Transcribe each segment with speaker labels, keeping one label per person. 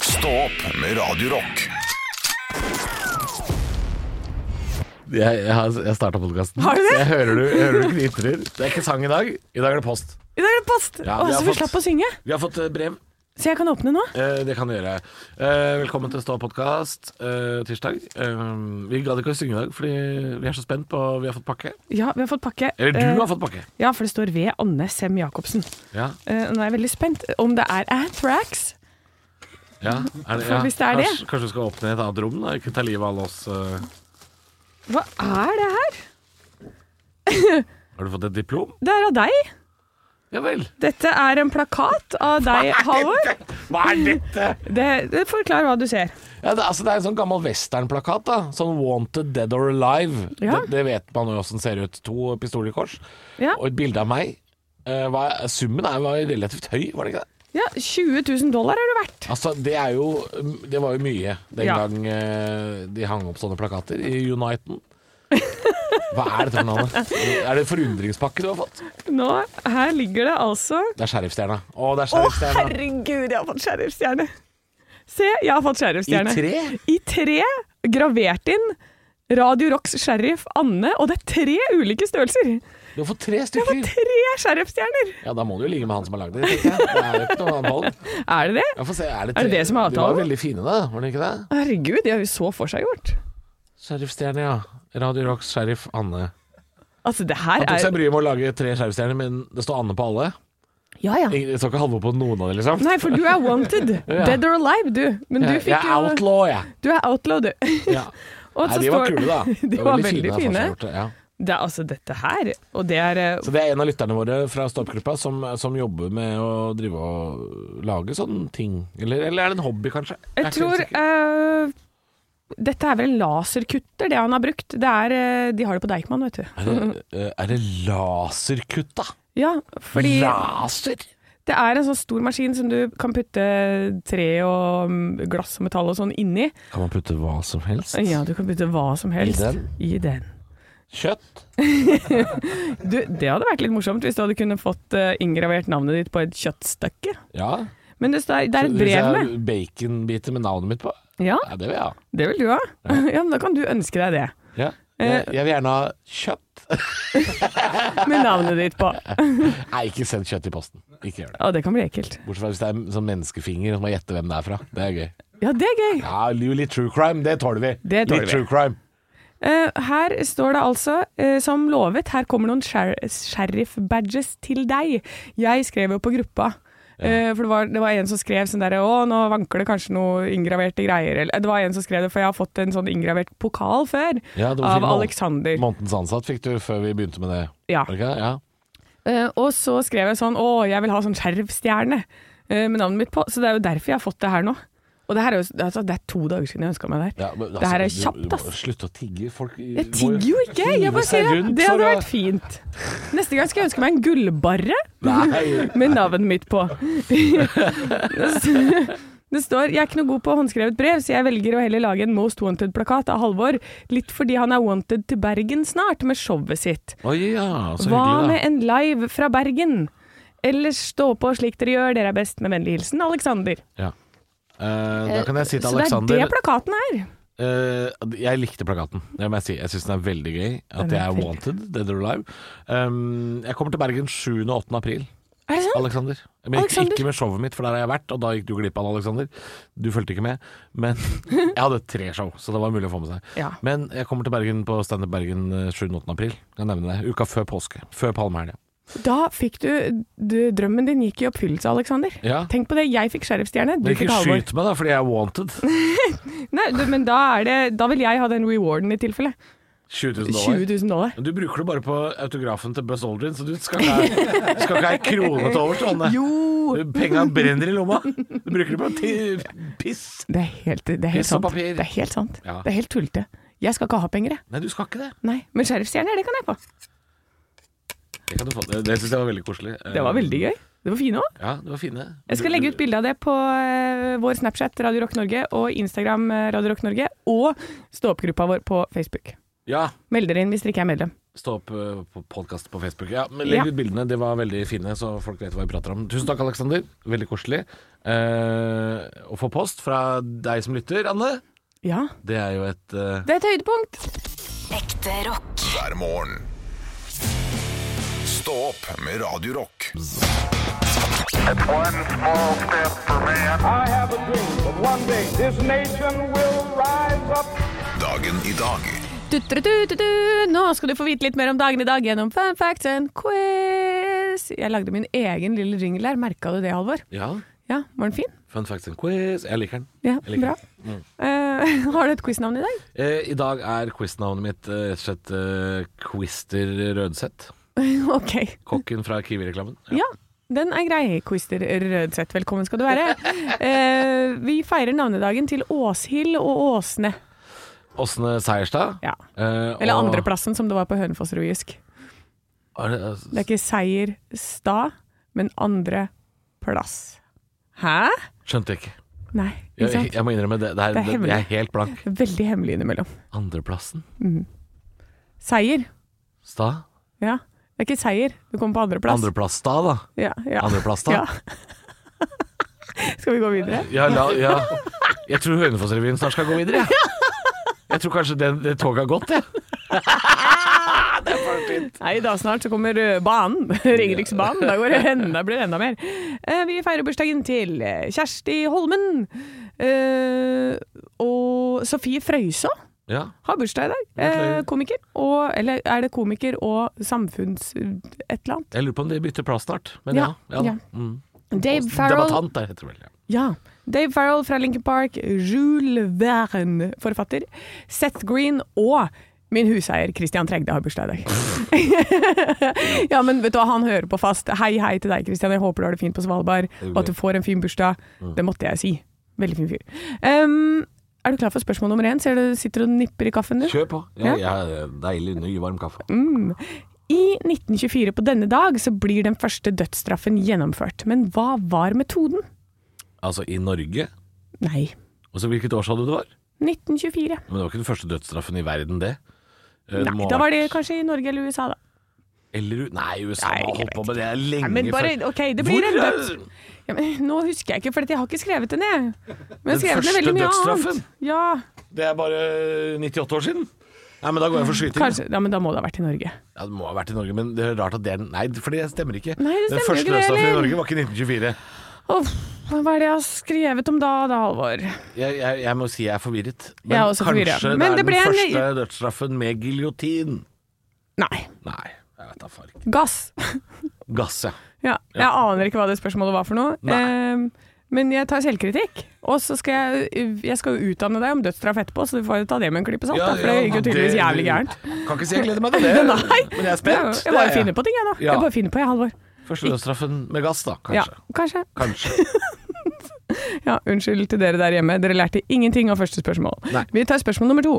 Speaker 1: Stå opp med Radio Rock.
Speaker 2: Jeg, jeg, har- jeg starta podkasten.
Speaker 3: Har du det?
Speaker 2: Jeg hører du, jeg hører du knitrer. Det er ikke sang i dag. I dag er det post.
Speaker 3: I dag er det post!
Speaker 2: Ja,
Speaker 3: Å,
Speaker 2: vi har
Speaker 3: så vi
Speaker 2: fått-
Speaker 3: slapp å synge.
Speaker 2: Vi har fått eh, brev.
Speaker 3: Så jeg kan åpne nå?
Speaker 2: Eh, det kan du gjøre. Eh, velkommen til Stå podkast eh, tirsdag. Eh, vi gadd ikke å synge i dag fordi vi er så spent på Vi har fått pakke.
Speaker 3: Ja, vi har fått pakke.
Speaker 2: Eller du
Speaker 3: Eh,
Speaker 2: har fått pakke.
Speaker 3: Ja, for det står ved Anne Sem Jacobsen.
Speaker 2: Ja.
Speaker 3: Eh, nå er jeg veldig spent. Om det er Anthrax?
Speaker 2: ja. Er
Speaker 3: For hvis det er det.
Speaker 2: Kanskje, kanskje du skal åpne et annet rom? da Ikke ta livet av alle oss. eh.
Speaker 3: Hva er det her?
Speaker 2: Har du fått et diplom?
Speaker 3: Det er av deg.
Speaker 2: Ja vel.
Speaker 3: Dette er en plakat av deg, Halvor.
Speaker 2: Hva er dette?
Speaker 3: Det, det forklar hva du ser.
Speaker 2: Ja, det, altså, det er en sånn gammel westernplakat. da Sånn 'Wanted Dead or Alive'.
Speaker 3: Ja.
Speaker 2: Det, det vet man jo åssen ser ut. To pistoler i kors
Speaker 3: Ja,
Speaker 2: og et bilde av meg. Eh, hva er, summen er, var jo relativt høy, var det ikke det?
Speaker 3: ja 20 000 dollar er det verdt.
Speaker 2: Altså, Det er jo Det var jo mye den
Speaker 3: Ja.
Speaker 2: gang eh, de hang opp sånne plakater i Uniten. Hva er dette for noe? Anne? Er det forundringspakke du har fått?
Speaker 3: Nå, her ligger det altså
Speaker 2: Det er Sheriffstjerna. Å, det er
Speaker 3: Å,
Speaker 2: Sheriffstjerna.
Speaker 3: herregud, jeg har fått sheriffstjerne. Se, jeg har fått
Speaker 2: I
Speaker 3: sheriffstjerne.
Speaker 2: tre?
Speaker 3: I tre, gravert inn. Radio Rocks sheriff Anne, og det er tre ulike størrelser.
Speaker 2: Du har fått tre
Speaker 3: Det var
Speaker 2: stykker.
Speaker 3: tre sheriffstjerner!
Speaker 2: Ja, Da må du jo ligge med han som har lagd det. tenker jeg. Det er jo ikke noe annet valg.
Speaker 3: Er det det?
Speaker 2: Jeg får se, er det,
Speaker 3: Er det
Speaker 2: tre-
Speaker 3: det som er
Speaker 2: De
Speaker 3: avtalen?
Speaker 2: var veldig fine, da. Var det ikke det?
Speaker 3: Herregud, de har jo så forseggjort.
Speaker 2: Sheriffstjerne, ja. Radio Rocks sheriff Anne.
Speaker 3: Altså, det her
Speaker 2: Han tok seg
Speaker 3: er
Speaker 2: bryet med å lage tre sheriffstjerner, men det står Anne på alle.
Speaker 3: Ja, ja.
Speaker 2: Jeg står ikke Halvor på noen av dem, liksom.
Speaker 3: Nei, for du er wanted.
Speaker 2: Ja.
Speaker 3: Dead or alive, du. Men du
Speaker 2: Jeg-
Speaker 3: fikk
Speaker 2: jeg er
Speaker 3: jo
Speaker 2: outlaw, jeg.
Speaker 3: Du er outlaw, du.
Speaker 2: Ja.
Speaker 3: Og
Speaker 2: Nei,
Speaker 3: så
Speaker 2: de var
Speaker 3: står-
Speaker 2: kule, da.
Speaker 3: De
Speaker 2: Det
Speaker 3: var veldig
Speaker 2: at folk
Speaker 3: fine.
Speaker 2: har gjort det, ja.
Speaker 3: Det er altså dette her, og det er eh,
Speaker 2: Så det er en av lytterne våre fra Stoppgruppa som, som jobber med å drive og lage sånne ting. Eller, eller er det en hobby, kanskje? er ikke
Speaker 3: Jeg
Speaker 2: helt
Speaker 3: tror
Speaker 2: sikker.
Speaker 3: eh, Dette er vel en laserkutter, det han har brukt. Det er eh, De har det på Deichman, vet du.
Speaker 2: Er det, eh, er det laserkutt, da?
Speaker 3: Ja, fordi
Speaker 2: Laser?
Speaker 3: Det er en sånn stor maskin som du kan putte tre og mm, glass og metall og sånn inni.
Speaker 2: Kan man putte hva som helst?
Speaker 3: Ja, du kan putte hva som helst
Speaker 2: I den?
Speaker 3: I den.
Speaker 2: Kjøtt?
Speaker 3: Du, det hadde vært litt morsomt hvis du hadde kunnet fått eh, inngravert navnet ditt på et kjøttstykke.
Speaker 2: Ja.
Speaker 3: Men det, står, det er et
Speaker 2: Hvis jeg
Speaker 3: brev
Speaker 2: har
Speaker 3: med.
Speaker 2: Baconbiter med navnet mitt på?
Speaker 3: Ja,
Speaker 2: Ja, det vil jeg ha.
Speaker 3: det vil du ha. Ja, men da kan du ønske deg det.
Speaker 2: Ja.
Speaker 3: Eh.
Speaker 2: Jeg, jeg vil gjerne ha kjøtt.
Speaker 3: Med navnet ditt på.
Speaker 2: Nei, ikke send kjøtt i posten. Ikke gjør det.
Speaker 3: Å, det kan bli ekkelt.
Speaker 2: Bortsett fra hvis det er en sånn menneskefinger som må gjette hvem det er fra. Det er gøy.
Speaker 3: Ja, det er gøy.
Speaker 2: Ja, jo, litt true crime, det tåler vi.
Speaker 3: Det tåler
Speaker 2: litt
Speaker 3: vi.
Speaker 2: true crime.
Speaker 3: Eh, her står det altså, eh, som lovet, her kommer noen sher sheriff-badges til deg. Jeg skrev jo på gruppa. Eh, for det var, det var en som skrev sånn derre Å, nå vanker det kanskje noe inngraverte greier. Eller, det var en som skrev det, for jeg har fått en sånn inngravert pokal før.
Speaker 2: Ja, det var sånn
Speaker 3: av
Speaker 2: fin mål.
Speaker 3: Alexander. Ah.
Speaker 2: Månedens ansatt fikk du før vi begynte med det.
Speaker 3: Ja.
Speaker 2: Var det ikke det? Ja.
Speaker 3: Eh, og så skrev jeg sånn Å, jeg vil ha sånn sheriffstjerne eh, med navnet mitt på. Så det er jo derfor jeg har fått det her nå. Og det her er jo altså, det er to dager siden jeg ønska meg det her.
Speaker 2: Ja, men,
Speaker 3: det her er
Speaker 2: altså, du-
Speaker 3: kjapt,
Speaker 2: du må
Speaker 3: ass.
Speaker 2: Slutt å tigge. Folk
Speaker 3: Jeg tigger jo ikke! Jeg bare sier at det hadde vært fint. Neste gang skal jeg ønske meg en gullbarre
Speaker 2: Nei.
Speaker 3: med navnet mitt på. Det står 'Jeg er ikke noe god på håndskrevet brev, så jeg velger å heller lage en Most Wanted-plakat av Halvor'. Litt fordi han er wanted til Bergen snart med showet sitt.
Speaker 2: Oi, ja. Så
Speaker 3: Hva
Speaker 2: hyggelig,
Speaker 3: med
Speaker 2: da.
Speaker 3: en live fra Bergen? Ellers stå på slik dere gjør, dere er best. Med vennlig hilsen Alexander.
Speaker 2: Ja. Eh, da kan jeg si til
Speaker 3: Så det er
Speaker 2: Alexander
Speaker 3: det plakaten er.
Speaker 2: Eh, jeg likte plakaten, det må jeg si. Jeg syns den er veldig gøy. At
Speaker 3: Den er
Speaker 2: jeg er
Speaker 3: veldig-
Speaker 2: wanted, dead or alive. Um, jeg kommer til Bergen 7. og 8. april.
Speaker 3: Er det sant?
Speaker 2: Alexander. Men ikke-
Speaker 3: Alexander?
Speaker 2: ikke med showet mitt, for der har jeg vært, og da gikk du glipp av det, Alexander. Du fulgte ikke med. Men jeg hadde tre show, så det var mulig å få med seg.
Speaker 3: Ja.
Speaker 2: Men jeg kommer til Bergen på Standup Bergen eh, 7. og 8. april. Jeg nevner det. Uka før påske. Før palmehelga.
Speaker 3: Da fikk du, du Drømmen din gikk i oppfyllelse, Alexander.
Speaker 2: Ja.
Speaker 3: Tenk på det, jeg fikk sheriffstjerne, du
Speaker 2: Men
Speaker 3: fikk
Speaker 2: ikke
Speaker 3: Halvor.
Speaker 2: skyt meg, da, fordi jeg er wanted.
Speaker 3: Nei, du, men da, er det, da vil jeg ha den rewarden i tilfelle.
Speaker 2: 20 000
Speaker 3: 20
Speaker 2: dollar.
Speaker 3: 000 dollar.
Speaker 2: Men Du bruker det bare på autografen til Buzz Aldrin, så du skal ikke ha- skal ikke ha ei krone til overs, Anne.
Speaker 3: Jo!
Speaker 2: Penga brenner i lomma. Du bruker det på ti- piss.
Speaker 3: Det er helt, det er helt
Speaker 2: Piss og
Speaker 3: sant.
Speaker 2: papir.
Speaker 3: Det er helt sant.
Speaker 2: Ja.
Speaker 3: Det er helt tullete. Jeg skal ikke ha penger, jeg.
Speaker 2: Nei, du skal ikke det.
Speaker 3: Nei, men sheriffstjerner, det kan jeg få.
Speaker 2: Det, kan du få. det, det syns jeg var veldig koselig.
Speaker 3: Det var veldig gøy. Det var fine òg.
Speaker 2: Ja, det var fine.
Speaker 3: Jeg skal legge ut bilde av det på eh, vår Snapchat Radio Rock Norge og Instagram eh, Radio Rock Norge og stå opp-gruppa vår på Facebook.
Speaker 2: Ja,
Speaker 3: Meld dere inn hvis dere ikke er medlem.
Speaker 2: Stå opp eh, på podkast på Facebook. Ja, men Legg
Speaker 3: Ja.
Speaker 2: ut bildene, de var veldig fine, så folk vet hva vi prater om. Tusen takk, Aleksander. Veldig koselig. Eh, å få post fra deg som lytter, Anne,
Speaker 3: Ja.
Speaker 2: det er jo et eh,
Speaker 3: Det er et høydepunkt.
Speaker 4: Ekte rock.
Speaker 1: hver morgen. Stå opp med Radio Rock.
Speaker 5: It's one small step for man.
Speaker 6: I have a dream that one day this nation will rise up.
Speaker 1: Dagen i dag.
Speaker 3: Du-du-du-du-du. Nå skal du få vite litt mer om dagen i dag gjennom fun facts and quiz. Jeg lagde min egen lille jingle her. Merka du det, Halvor?
Speaker 2: Ja,
Speaker 3: Ja, var den fin?
Speaker 2: fun facts and quiz. Jeg liker den.
Speaker 3: Ja,
Speaker 2: Jeg liker
Speaker 3: bra.
Speaker 2: den. Mm.
Speaker 3: Eh, har du et quiznavn i dag?
Speaker 2: Eh, I dag er quiznavnet mitt eh, rett og slett eh, Quister Rødseth.
Speaker 3: OK.
Speaker 2: Kokken fra Kiwi-reklamen.
Speaker 3: Ja, den er grei, Quister Rødseth. Velkommen skal du være. Eh, vi feirer navnedagen til Åshild og Åsne.
Speaker 2: Åsne Seierstad.
Speaker 3: Ja.
Speaker 2: Eh,
Speaker 3: Eller
Speaker 2: og-
Speaker 3: andreplassen, som det var på Hønefoss-ruisk.
Speaker 2: Er det, altså,
Speaker 3: Det er ikke Seierstad, men andreplass. Hæ?
Speaker 2: skjønte jeg ikke.
Speaker 3: Nei, ikke
Speaker 2: Jeg,
Speaker 3: sant?
Speaker 2: jeg må innrømme det. Det, er,
Speaker 3: Det er
Speaker 2: det,
Speaker 3: hemmelig.
Speaker 2: jeg er helt blank.
Speaker 3: Veldig hemmelig innimellom.
Speaker 2: Andreplassen?
Speaker 3: Seier.
Speaker 2: Stad?
Speaker 3: Ja. Det er ikke seier, du kommer på andreplass.
Speaker 2: Andreplass Stad, da.
Speaker 3: Ja, ja.
Speaker 2: Andreplass, da?
Speaker 3: Ja. Skal vi gå videre?
Speaker 2: Ja, la, ja. Jeg tror Hønefoss-revyen snart skal gå videre, jeg. Jeg tror kanskje det, det toget har gått, jeg.
Speaker 3: Nei, da snart så kommer ø, banen. Ringeriksbanen. Da går det enda, blir det enda mer. Eh, Vi feirer bursdagen til eh, Kjersti Holmen. Eh, Og Sofie Frøysaa
Speaker 2: Ja.
Speaker 3: har bursdag i dag.
Speaker 2: Gratulerer.
Speaker 3: Eh, Komiker. Og, eller er det komiker og samfunns... et eller annet?
Speaker 2: Jeg lurer på om de bytter plass snart, men ja.
Speaker 3: Ja,
Speaker 2: ja, da.
Speaker 3: ja.
Speaker 2: Mm.
Speaker 3: Dave Farrell.
Speaker 2: Debattant der, heter det vel. Ja.
Speaker 3: Ja. Dave Farrell fra Linkin Park. Jules Verne, forfatter. Seth Green og min huseier Christian Tregde har bursdag i dag. ja, men vet du hva, han hører på fast. Hei, hei til deg, Christian. Jeg håper du har det fint på Svalbard, og at du får en fin bursdag.
Speaker 2: Mm.
Speaker 3: Det måtte jeg si. Veldig fin fyr. Ehm, er du klar for spørsmål nummer én? Ser du sitter og nipper i kaffen, du?
Speaker 2: Kjør på.
Speaker 3: Ja. Mm.
Speaker 2: deilig, ny, varm kaffe.
Speaker 3: I 1924 på denne dag så blir den første dødsstraffen gjennomført. Men hva var metoden?
Speaker 2: Altså, i Norge
Speaker 3: Nei,
Speaker 2: Og så Hvilket år sa du det var?
Speaker 3: 1924.
Speaker 2: Men Det var ikke den første dødsstraffen i verden, det. Eh, det
Speaker 3: Nei,
Speaker 2: må
Speaker 3: da
Speaker 2: ha
Speaker 3: var
Speaker 2: vært-
Speaker 3: det kanskje i Norge eller USA, da.
Speaker 2: Eller, u- nei, USA
Speaker 3: Nei,
Speaker 2: har
Speaker 3: jeg
Speaker 2: holdt på
Speaker 3: vet
Speaker 2: med det lenge
Speaker 3: Nei, men bare-
Speaker 2: før.
Speaker 3: ok, det
Speaker 2: Hvor
Speaker 3: blir en
Speaker 2: er-
Speaker 3: døds- Ja, men nå husker jeg ikke, for jeg har ikke skrevet det ned. Men jeg har skrevet ned
Speaker 2: første
Speaker 3: veldig mye
Speaker 2: dødsstraffen?
Speaker 3: annet. Ja,
Speaker 2: Det er bare 98 år siden. Nei, men Da går jeg for skyting.
Speaker 3: kanskje, ja, men da må det ha vært i Norge.
Speaker 2: Ja, det må ha vært i Norge, men det er rart at det er den Nei, for det stemmer ikke.
Speaker 3: Nei, det
Speaker 2: den
Speaker 3: stemmer
Speaker 2: første
Speaker 3: ikke det
Speaker 2: dødsstraffen i
Speaker 3: heller.
Speaker 2: Norge var ikke 1924.
Speaker 3: Uff, hva er det jeg har skrevet om da, da, Halvor?
Speaker 2: Jeg, jeg, jeg må si jeg er forvirret. Men
Speaker 3: Jeg er også forvirret.
Speaker 2: kanskje
Speaker 3: Men
Speaker 2: det
Speaker 3: det
Speaker 2: er
Speaker 3: ble
Speaker 2: den
Speaker 3: en-
Speaker 2: første dødsstraffen med giljotin.
Speaker 3: Nei.
Speaker 2: Nei, jeg vet da farken.
Speaker 3: Gass.
Speaker 2: Gass, ja.
Speaker 3: Ja, jeg aner ikke hva det spørsmålet var for noe.
Speaker 2: Nei.
Speaker 3: Ehm, men jeg tar selvkritikk. Og så skal jeg, jeg skal jo utdanne deg om dødsstraff etterpå, så du får jo ta det med en klype salt. da, for det gikk jo tydeligvis jævlig gærent.
Speaker 2: Kan ikke si jeg gleder meg til det,
Speaker 3: Nei.
Speaker 2: men jeg er
Speaker 3: Jeg,
Speaker 2: spent.
Speaker 3: jeg bare finner på ting, jeg, da.
Speaker 2: Ja.
Speaker 3: Jeg bare finner på, jeg, Halvor.
Speaker 2: Første dødsstraffen med gass, da,
Speaker 3: Ja,
Speaker 2: kanskje.
Speaker 3: kanskje.
Speaker 2: Kanskje.
Speaker 3: Ja, unnskyld til dere der hjemme. Dere lærte ingenting av første spørsmål.
Speaker 2: Nei.
Speaker 3: Vi tar spørsmål nummer to.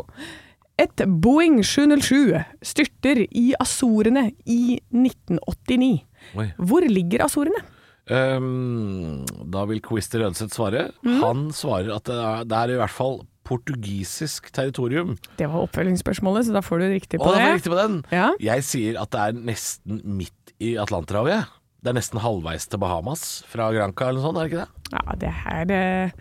Speaker 3: Et Boeing 707 styrter i Azorene i 1989.
Speaker 2: Oi.
Speaker 3: Hvor ligger Azorene?
Speaker 2: Um, da vil Quister Rødseth svare.
Speaker 3: Mhm.
Speaker 2: Han svarer at det er, det er i hvert fall portugisisk territorium.
Speaker 3: Det var oppfølgingsspørsmålet, så da får du riktig på
Speaker 2: Å, det
Speaker 3: det.
Speaker 2: var riktig på den!
Speaker 3: Ja.
Speaker 2: Jeg sier at det er nesten midt i Atlanterhavet. jeg. Det er nesten halvveis til Bahamas fra Granca eller noe sånt, er det ikke det?
Speaker 3: ja, det her eh,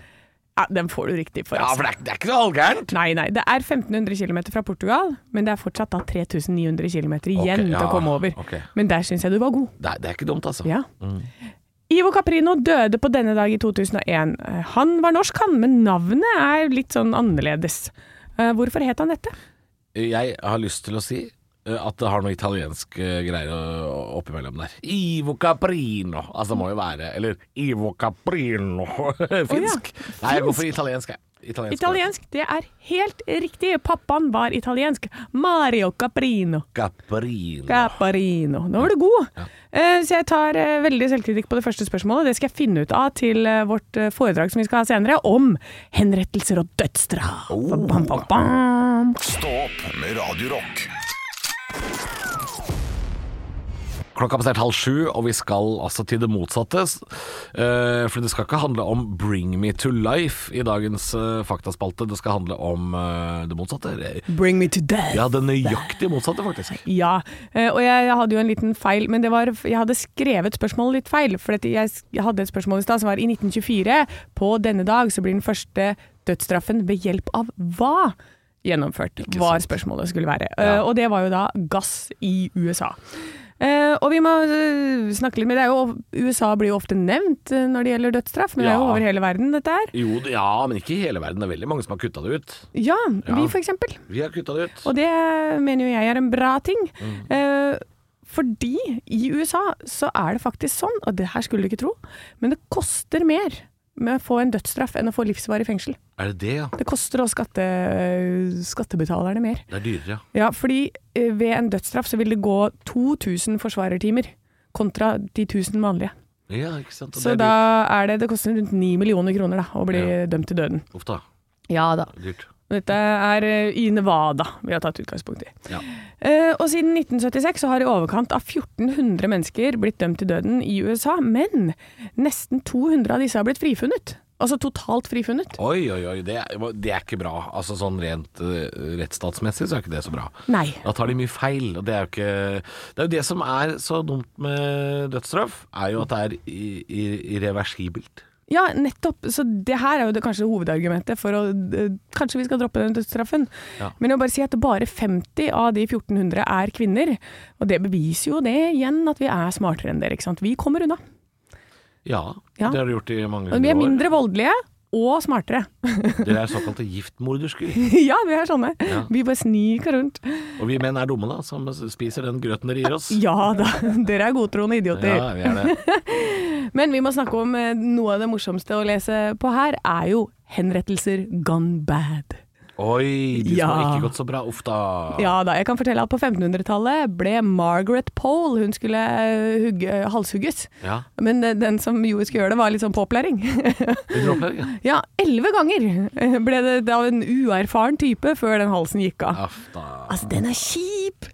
Speaker 3: ja, Den får du riktig for,
Speaker 2: Ja,
Speaker 3: altså.
Speaker 2: for det er, det er ikke så halvgærent!
Speaker 3: Nei, nei. Det er 1500 km fra Portugal, men det er fortsatt da 3900 km igjen
Speaker 2: Ok,
Speaker 3: til
Speaker 2: ja,
Speaker 3: å komme over.
Speaker 2: ok.
Speaker 3: Men der syns jeg du var god.
Speaker 2: Det er, det er ikke dumt, altså.
Speaker 3: Ja. Ivo Caprino døde på denne dag i 2001. Eh, Han var norsk, han, men navnet er litt sånn annerledes. Eh, Hvorfor het han dette?
Speaker 2: Jeg har lyst til å si eh, at det har noe italiensk eh, greier å- oppimellom der. Ivo Caprino. Altså, det må jo være Eller Ivo Caprino. Finsk. Nei, jeg går for italiensk, jeg. Italiensk.
Speaker 3: Italiensk, det er helt riktig. Pappaen var italiensk. Mario Caprino.
Speaker 2: Caprino.
Speaker 3: Caprino. Nå var du god. Eh, Så jeg tar eh, veldig selvkritikk på det første spørsmålet. Det skal jeg finne ut av til eh, vårt eh, foredrag som vi skal ha senere, om henrettelser og dødsstraff. Bam, bam, bam.
Speaker 1: Stå opp med Radio Rock.
Speaker 2: Klokka har passert halv sju, og vi skal altså til det motsatte. S- eh, for det skal ikke handle om 'bring me to life' i dagens eh, faktaspalte. Det skal handle om eh, det motsatte.
Speaker 3: Bring me to death.
Speaker 2: Ja, det nøyaktig motsatte, faktisk.
Speaker 3: Ja, eh, og jeg, jeg hadde jo en liten feil, men det var, jeg hadde skrevet spørsmålet litt feil. For at jeg, jeg hadde et spørsmål i stad som var i 1924. På denne dag så blir den første dødsstraffen ved hjelp av hva gjennomført, var spørsmålet skulle være. Eh, og det var jo da gass i USA. Eh, og vi må eh, snakke litt med deg, og USA blir jo ofte nevnt eh, når det gjelder dødsstraff, men det er jo
Speaker 2: Ja.
Speaker 3: over hele verden dette her.
Speaker 2: Jo, det- ja, men ikke i hele verden. Det er veldig mange som har kutta det ut.
Speaker 3: Ja,
Speaker 2: Ja.
Speaker 3: vi for eksempel.
Speaker 2: Vi har kutta det ut.
Speaker 3: Og det mener jo jeg er en bra ting.
Speaker 2: Mm.
Speaker 3: Eh, fordi i USA så er det faktisk sånn, og det her skulle du ikke tro, men det koster mer med å få en dødsstraff enn å få livsvarig fengsel.
Speaker 2: Er det det, ja?
Speaker 3: Det koster også skatte, skattebetalerne mer.
Speaker 2: Det er dyrere, ja.
Speaker 3: Ja, fordi eh, ved en dødsstraff så vil det gå 2000 forsvarertimer kontra de 1000 vanlige.
Speaker 2: Ja, ikke sant. Og det
Speaker 3: Så
Speaker 2: er
Speaker 3: da er det Det koster rundt 9 millioner kroner da, å bli
Speaker 2: Ja.
Speaker 3: dømt til døden.
Speaker 2: dyrt. Uff da.
Speaker 3: Ja da.
Speaker 2: Dyrt.
Speaker 3: Dette er eh, i Nevada vi har tatt utgangspunkt i.
Speaker 2: Ja.
Speaker 3: Eh, Og siden 1976 så har i overkant av 1400 mennesker blitt dømt til døden i USA, men nesten 200 av disse har blitt frifunnet. Altså totalt frifunnet.
Speaker 2: Oi, oi, oi. Det er, det er ikke bra. Altså sånn rent eh, rettsstatsmessig så er ikke det så bra.
Speaker 3: Nei.
Speaker 2: Da tar de mye feil, og det er jo ikke Det er jo det som er så dumt med dødsstraff, er jo at det er i- i- irreversibelt.
Speaker 3: Ja, nettopp. Så det her er jo det, kanskje hovedargumentet for å eh, Kanskje vi skal droppe den dødsstraffen.
Speaker 2: Ja.
Speaker 3: Men jeg vil bare si at bare 50 av de 1400 er kvinner. Og det beviser jo det igjen at vi er smartere enn dere, ikke sant. Vi kommer unna.
Speaker 2: Ja,
Speaker 3: Ja.
Speaker 2: det har de gjort i mange
Speaker 3: Og vi
Speaker 2: hundre
Speaker 3: er
Speaker 2: år.
Speaker 3: mindre voldelige og smartere.
Speaker 2: Dere er såkalte giftmordersker.
Speaker 3: ja, vi er sånne.
Speaker 2: Ja.
Speaker 3: Vi bare sniker rundt.
Speaker 2: Og vi menn er dumme, da, som spiser den grøten dere gir oss.
Speaker 3: Ja da, dere er godtroende idioter.
Speaker 2: Ja, vi er det.
Speaker 3: Men vi må snakke om eh, noe av det morsomste å lese på her, er jo henrettelser gone bad.
Speaker 2: Oi, de som har
Speaker 3: Ja.
Speaker 2: ikke gått så bra. Uff da.
Speaker 3: Ja da, jeg kan fortelle at på 1500-tallet ble Margaret Pole, hun skulle eh, hugge, eh, halshugges.
Speaker 2: Ja.
Speaker 3: Men eh, den som jo skulle gjøre det, var litt sånn påplæring.
Speaker 2: Vil dere oppleve det?
Speaker 3: ja, elleve ganger eh, ble det av en uerfaren type før den halsen gikk av.
Speaker 2: Uff da.
Speaker 3: Altså, den er kjip!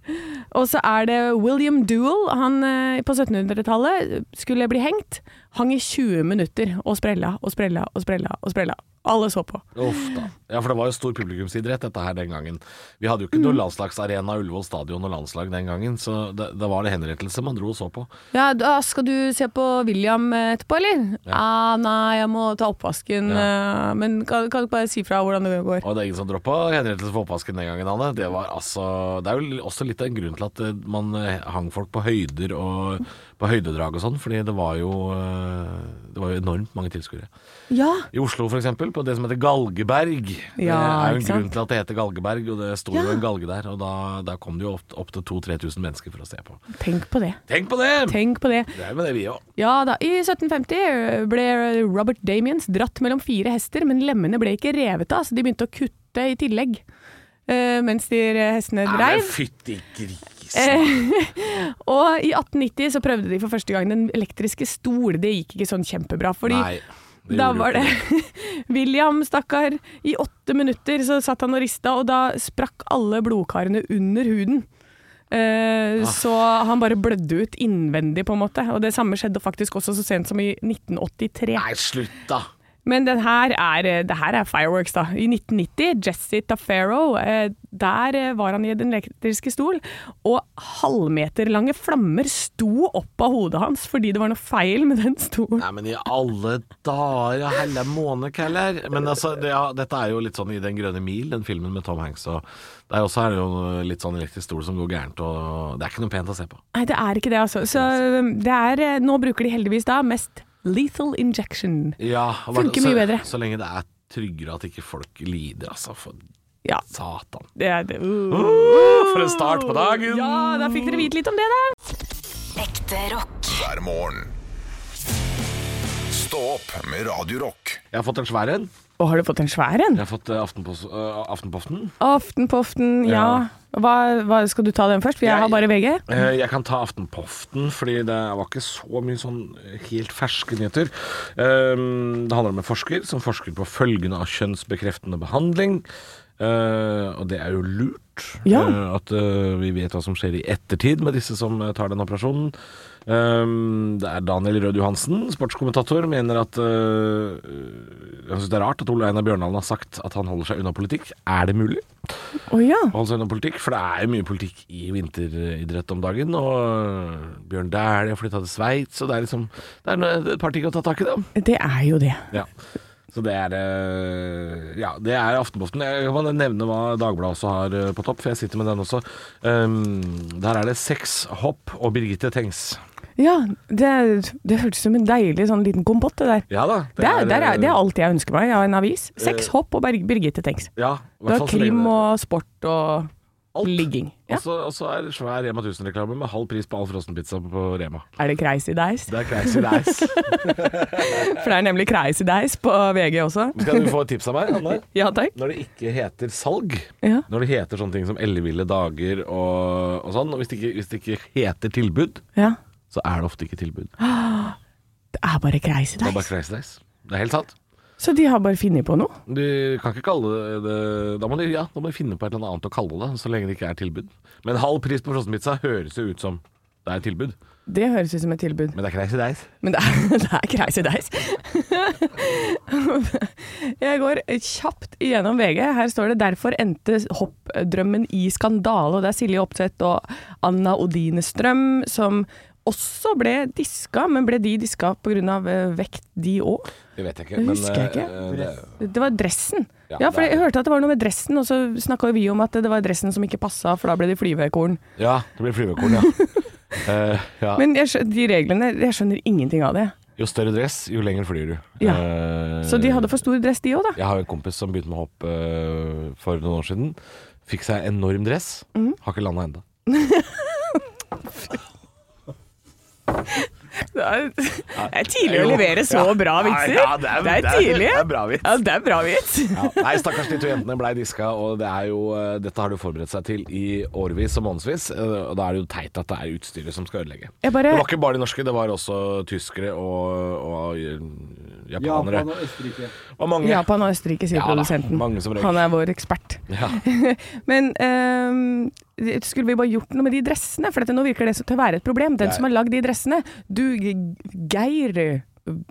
Speaker 3: Og så er det William Duell. Han eh, på 1700-tallet skulle bli hengt. Hang i 20 minutter og sprella og sprella og sprella og sprella. Alle så på.
Speaker 2: Uff da. Ja, for det var jo stor publikumsidrett dette her den gangen. Vi hadde jo ikke noen
Speaker 3: Mm.
Speaker 2: landslagsarena, Ullevål stadion og landslag den gangen, så det- da var det henrettelse man dro og så på.
Speaker 3: Ja, da skal du se på William eh, etterpå, eller? Ah, nei, jeg må ta oppvasken. eh, Men kan, kan du bare si fra hvordan det går?
Speaker 2: Og det er ingen som droppa henrettelse for oppvasken den gangen, Anne. Det var altså Det er jo også litt av en grunn til at eh, man eh, hang folk på høyder og på høydedrag og sånn, fordi det var jo eh, Det var jo enormt mange tilskuere.
Speaker 3: Ja,
Speaker 2: I Oslo for eksempel, på det som heter Galgeberg.
Speaker 3: Ja,
Speaker 2: det er jo
Speaker 3: ikke
Speaker 2: en
Speaker 3: sant?
Speaker 2: grunn til at det heter Galgeberg, og det sto
Speaker 3: Ja.
Speaker 2: jo en galge der. Og da, da kom det jo opp, opp til 2000-3000 mennesker for å se på.
Speaker 3: tenk på det.
Speaker 2: Tenk på det!
Speaker 3: Tenk på det.
Speaker 2: Det er jo med det vi òg.
Speaker 3: Ja da, i 1750 ble Robert Damiens dratt mellom fire hester, men lemmene ble ikke revet av, så de begynte å kutte i tillegg. eh, mens de hestene
Speaker 2: Ah,
Speaker 3: dreiv.
Speaker 2: fytti gris.
Speaker 3: Og i 1890 så prøvde de for første gang den elektriske stol. Det gikk ikke sånn kjempebra. Fordi
Speaker 2: Nei. det
Speaker 3: da
Speaker 2: gjorde jo
Speaker 3: var det
Speaker 2: ikke
Speaker 3: William, stakkar. I åtte minutter så satt han og rista, og da sprakk alle blodkarene under huden.
Speaker 2: Ah.
Speaker 3: Eh, Så han bare blødde ut innvendig, på en måte. Og det samme skjedde faktisk også så sent som i 1983.
Speaker 2: Nei, slutt, da.
Speaker 3: Men den her er, eh, det her er fireworks, da. I 1990, Jesse Tafero, eh, der eh, var han i den elektriske stol, og halvmeterlange flammer sto opp av hodet hans fordi det var noe feil med den stolen.
Speaker 2: Nei, men i alle dager og helle måned, Keller. Men altså, det, ja, dette er jo litt sånn i Den grønne mil, den filmen med Tom Hanks og Det er også er det jo litt sånn elektrisk stol som går gærent, og det er ikke noe pent å se på.
Speaker 3: Nei, det er ikke det, altså. Så eh, det er eh, Nå bruker de heldigvis da mest lethal injection.
Speaker 2: Ja, og bare-
Speaker 3: Funker mye
Speaker 2: så,
Speaker 3: bedre.
Speaker 2: Så lenge det er tryggere at ikke folk lider, altså. For
Speaker 3: Ja.
Speaker 2: satan.
Speaker 3: Det er det.
Speaker 2: For en start på dagen!
Speaker 3: Ja, da fikk dere vite litt om det, da.
Speaker 4: Ekte rock.
Speaker 1: hver morgen. Stå opp med Radio Rock.
Speaker 2: Jeg har fått en svær en.
Speaker 3: Og har du fått en svær en?
Speaker 2: Jeg har fått eh, Aftenpos eh, Aftenposten.
Speaker 3: Aftenpoften, ja. Hva, hva, skal du ta den først? For jeg
Speaker 2: Jeg-
Speaker 3: har bare VG.
Speaker 2: Eh, Jeg kan ta Aftenpoften, fordi det var ikke så mye sånn helt ferske nyheter. Ehm, Det handler om en forsker som forsker på følgene av kjønnsbekreftende behandling. Eh, og det er jo lurt
Speaker 3: Ja.
Speaker 2: eh, at eh, vi vet hva som skjer i ettertid med disse som eh, tar den operasjonen. Ehm, det er Daniel Rød Johansen, sportskommentator, mener at eh, Han syns det er rart at Ole Einar Bjørndalen har sagt at han holder seg unna politikk. Er det mulig?
Speaker 3: Å ja.
Speaker 2: holde seg unna politikk, for det er jo mye politikk i vinteridrett om dagen. Og øh, Bjørn Dæhlie har flytta til Sveits, og det er liksom Det er noe- et par ting å ta tak i, da.
Speaker 3: Det er jo det.
Speaker 2: Ja. Så det er eh, Ja, det er Aftenposten. Jeg kan bare nevne hva Dagbladet også har eh, på topp, for jeg sitter med den også. Um, der er det seks hopp og Birgitte Tengs.
Speaker 3: Ja, det, det hørtes ut som en deilig sånn liten kompott, det der.
Speaker 2: Ja da.
Speaker 3: Det er, der er, det er
Speaker 2: eh,
Speaker 3: alt jeg ønsker meg av en avis. Sex, hopp og Berg Birgitte Tengs.
Speaker 2: ja, Eh, i
Speaker 3: Du
Speaker 2: hvert
Speaker 3: har
Speaker 2: fall så lenge
Speaker 3: krim
Speaker 2: det-
Speaker 3: og sport og
Speaker 2: Alt. Altså.
Speaker 3: ligging. Ja.
Speaker 2: Og så- og så er det svær Rema 1000-reklame med halv pris på all frossenpizza på Rema.
Speaker 3: Er det Crazy Dice?
Speaker 2: Det er crazy nice.
Speaker 3: For det er nemlig Crazy Dice på VG også.
Speaker 2: Skal du få et tips av meg? Anne?
Speaker 3: Ja takk.
Speaker 2: Når det ikke heter salg,
Speaker 3: Ja.
Speaker 2: når det heter sånne ting som elleville dager og, og sånn, og hvis det, ikke, hvis det ikke heter tilbud,
Speaker 3: Ja.
Speaker 2: så er det ofte ikke tilbud.
Speaker 3: Det er bare Crazy
Speaker 2: Det er bare
Speaker 3: Dice.
Speaker 2: crazy days. Det er helt sant.
Speaker 3: Så de har bare funnet på noe.
Speaker 2: Du kan ikke kalle det, det da, må du, ja, da må du finne på et eller annet å kalle det, så lenge det ikke er tilbud. Men halv pris på frossenpizza høres jo ut som det er et tilbud,
Speaker 3: Det høres ut som et tilbud.
Speaker 2: men det er crazy days.
Speaker 3: Men det er, det er crazy days. Jeg går kjapt igjennom VG. Her står det 'Derfor endte hoppdrømmen i skandale'. Og det er Silje Opseth og Anna Odine Strøm som også ble diska. Men ble de diska pga. eh, vekt, de òg?
Speaker 2: Det vet jeg ikke.
Speaker 3: Det
Speaker 2: men,
Speaker 3: husker jeg ikke.
Speaker 2: eh, det-
Speaker 3: Det var dressen.
Speaker 2: Ja,
Speaker 3: Ja, for
Speaker 2: det er
Speaker 3: jeg
Speaker 2: det.
Speaker 3: hørte at det var noe med dressen, og så snakka vi om at det var dressen som ikke passa, for da ble det flyvekorn.
Speaker 2: ja, det blir flyvekorn, ja. Eh, ja.
Speaker 3: Men jeg, skjø- de reglene, jeg skjønner ingenting av det.
Speaker 2: Jo større dress, jo lenger flyr du.
Speaker 3: Ja.
Speaker 2: Eh,
Speaker 3: Så de hadde for stor dress, de òg, da.
Speaker 2: Jeg har jo en kompis som begynte med hopp eh, for noen år siden. Fikk seg enorm dress.
Speaker 3: Mhm.
Speaker 2: Har ikke landa ennå.
Speaker 3: Det er, det er tidlig å levere så bra vitser. det, er, tidlig.
Speaker 2: det er bra vits.
Speaker 3: Ja, det er bra vits.
Speaker 2: Ja. Nei, stakkars de to jentene blei diska, og det er jo, eh, dette har de forberedt seg til i årevis og månedsvis. eh, Og da er det jo teit at det er utstyret som skal ødelegge.
Speaker 3: Jeg bare-
Speaker 2: Det var ikke bare de norske, det var også tyskere og, og eh, japanere.
Speaker 7: Japan og Østerrike.
Speaker 2: Det var mange.
Speaker 3: Japan og Østerrike, sier
Speaker 2: Ja da,
Speaker 3: produsenten.
Speaker 2: mange som røyk.
Speaker 3: Han er vår ekspert.
Speaker 2: Ja.
Speaker 3: Men ehm, skulle vi bare gjort noe med de dressene? For dette, nå virker det så- til å være et problem. Den
Speaker 2: Jeg-
Speaker 3: som har lagd de dressene, du G- Geir eh,